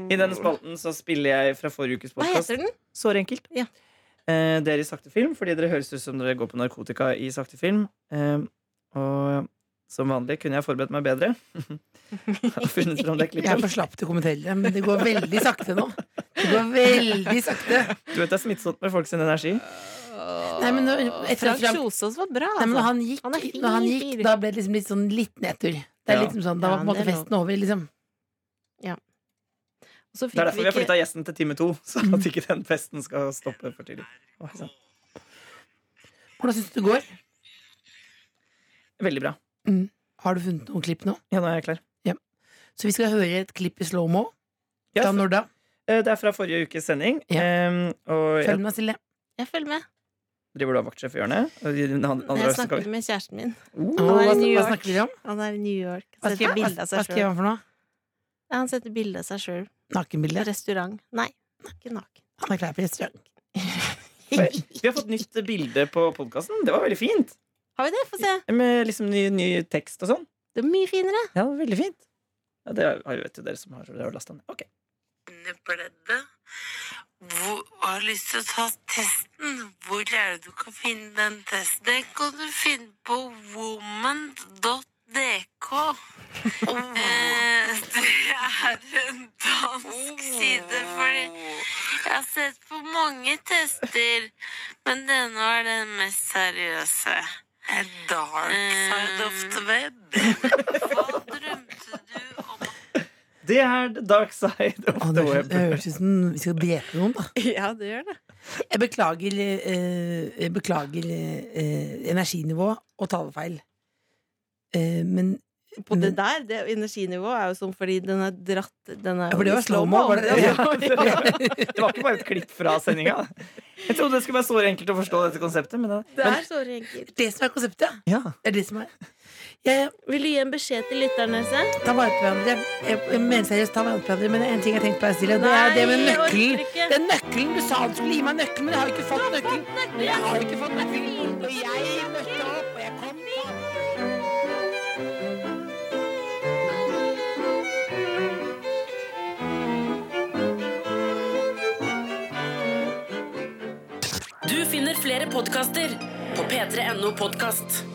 J: I denne spalten så spiller jeg fra forrige ukes
C: Hva
J: podkast.
C: heter den?
J: Såre enkelt.
C: Ja.
J: Eh, dere i sakte film, fordi dere høres ut som dere går på narkotika i sakte film. Eh, og som vanlig kunne jeg forberedt meg bedre. <laughs> Har funnet fram det
D: Jeg er for
J: klippet.
D: slapp til å kommentere det, men det går veldig sakte nå. Det går veldig sakte.
J: Du vet det er smittsomt med folk sin energi.
D: Nei, men nå- etter
C: Frank
D: at Frank-
C: Kjosås var bra.
D: Nei, men når
C: altså.
D: han gikk,
C: Han er fin
D: når han gikk
C: fyr.
D: da ble det liksom litt sånn litt nedtur. Det er
J: Ja.
D: liksom sånn, Da var på en
C: Ja,
D: måte
C: det er lov.
D: festen over, liksom.
C: Og så
J: Det er
C: fikk
J: derfor
C: vi
J: vi har
C: ikke
J: flytta gjesten til time to. <laughs> Så at ikke den festen skal stoppe for tidlig. Oi, sant.
D: Hvordan syns du det går?
J: Veldig bra.
D: Har du funnet noen klipp nå?
J: Ja, nå er jeg klar.
D: Så vi skal høre et klipp i slow-mo.
J: Ja,
D: Da
J: for-
D: når da?
J: Eh, Det er fra forrige ukes sending.
D: Ja.
J: Em, og jeg
D: Følg med, Silje.
C: Jeg følger med.
J: driver du av vaktsjef i hjørnet? Og de- den andre-
C: Når
J: andre
C: jeg
J: øyne kan
C: snakker
J: vi-
C: med kjæresten min. Han
D: Hva,
C: er i New
D: hva
C: York.
D: snakker dere om?
C: Han er i New York.
D: Hva
C: Setter
D: skriver,
C: bilde av
D: hva
C: seg
D: skriver
C: sjøl.
D: han for noe?
C: Ja, han setter bilde av seg sjøl.
D: Nakenbilde?
C: Restaurant. Nei, ikke naken.
D: Han er klar på restaurant.
J: Vi har fått nytt bilde på podkasten. Det var veldig fint.
C: Har vi det? Få se.
J: Med liksom ny, ny tekst og sånn.
C: Det er mye finere.
J: Ja, det var veldig fint. Ja, det har- vet jo dere som har, dere har lasta ned. Ok.
K: bredde. Hvor, og har lyst til å ta testen. Hvor er det du kan finne den testen? Den kan du finne på woman.dk. Eh, det er en dansk side, fordi jeg har sett på mange tester, men denne var den mest seriøse. A dark side of the web. Hva drømte du om
J: Det er The Dark Side
D: Å,
J: of the
D: det høres- det
J: Web.
D: høres ut som vi skal drepe noen, da.
C: <laughs> Ja, det gjør det.
D: Jeg beklager, eh, jeg beklager eh, energinivå og talefeil. Eh, men
C: på det der. Det energinivået er jo sånn fordi den er dratt Den er
J: Ja, for det
C: i
J: var slow-mo, var det det?
C: Ja,
J: <laughs> det var det var ikke bare et klipp fra sendinga. Jeg trodde det skulle være så enkelt å forstå dette konseptet. Men det,
C: Det
J: men,
C: er så enkelt.
D: <laughs> Det som er konseptet.
J: Ja.
D: Det er det som er.
C: Vil du gi en beskjed til lytterne, Se?
D: Ta vare på hverandre. Jeg- Jeg jeg mener seriøst, ta vare på hverandre. Men det er en ting jeg tenkte på deg, Silje, og det er det med
C: Nei, jeg orker
D: nøkkelen.
C: ikke.
D: Den nøkkelen du sa du skulle gi meg nøkkelen, men jeg har jo ikke fått nøkkelen. Men jeg har jo ikke fått nøkkelen. Og jeg møtte opp, og jeg kom.
A: Du finner flere podkaster på p3.no podkast.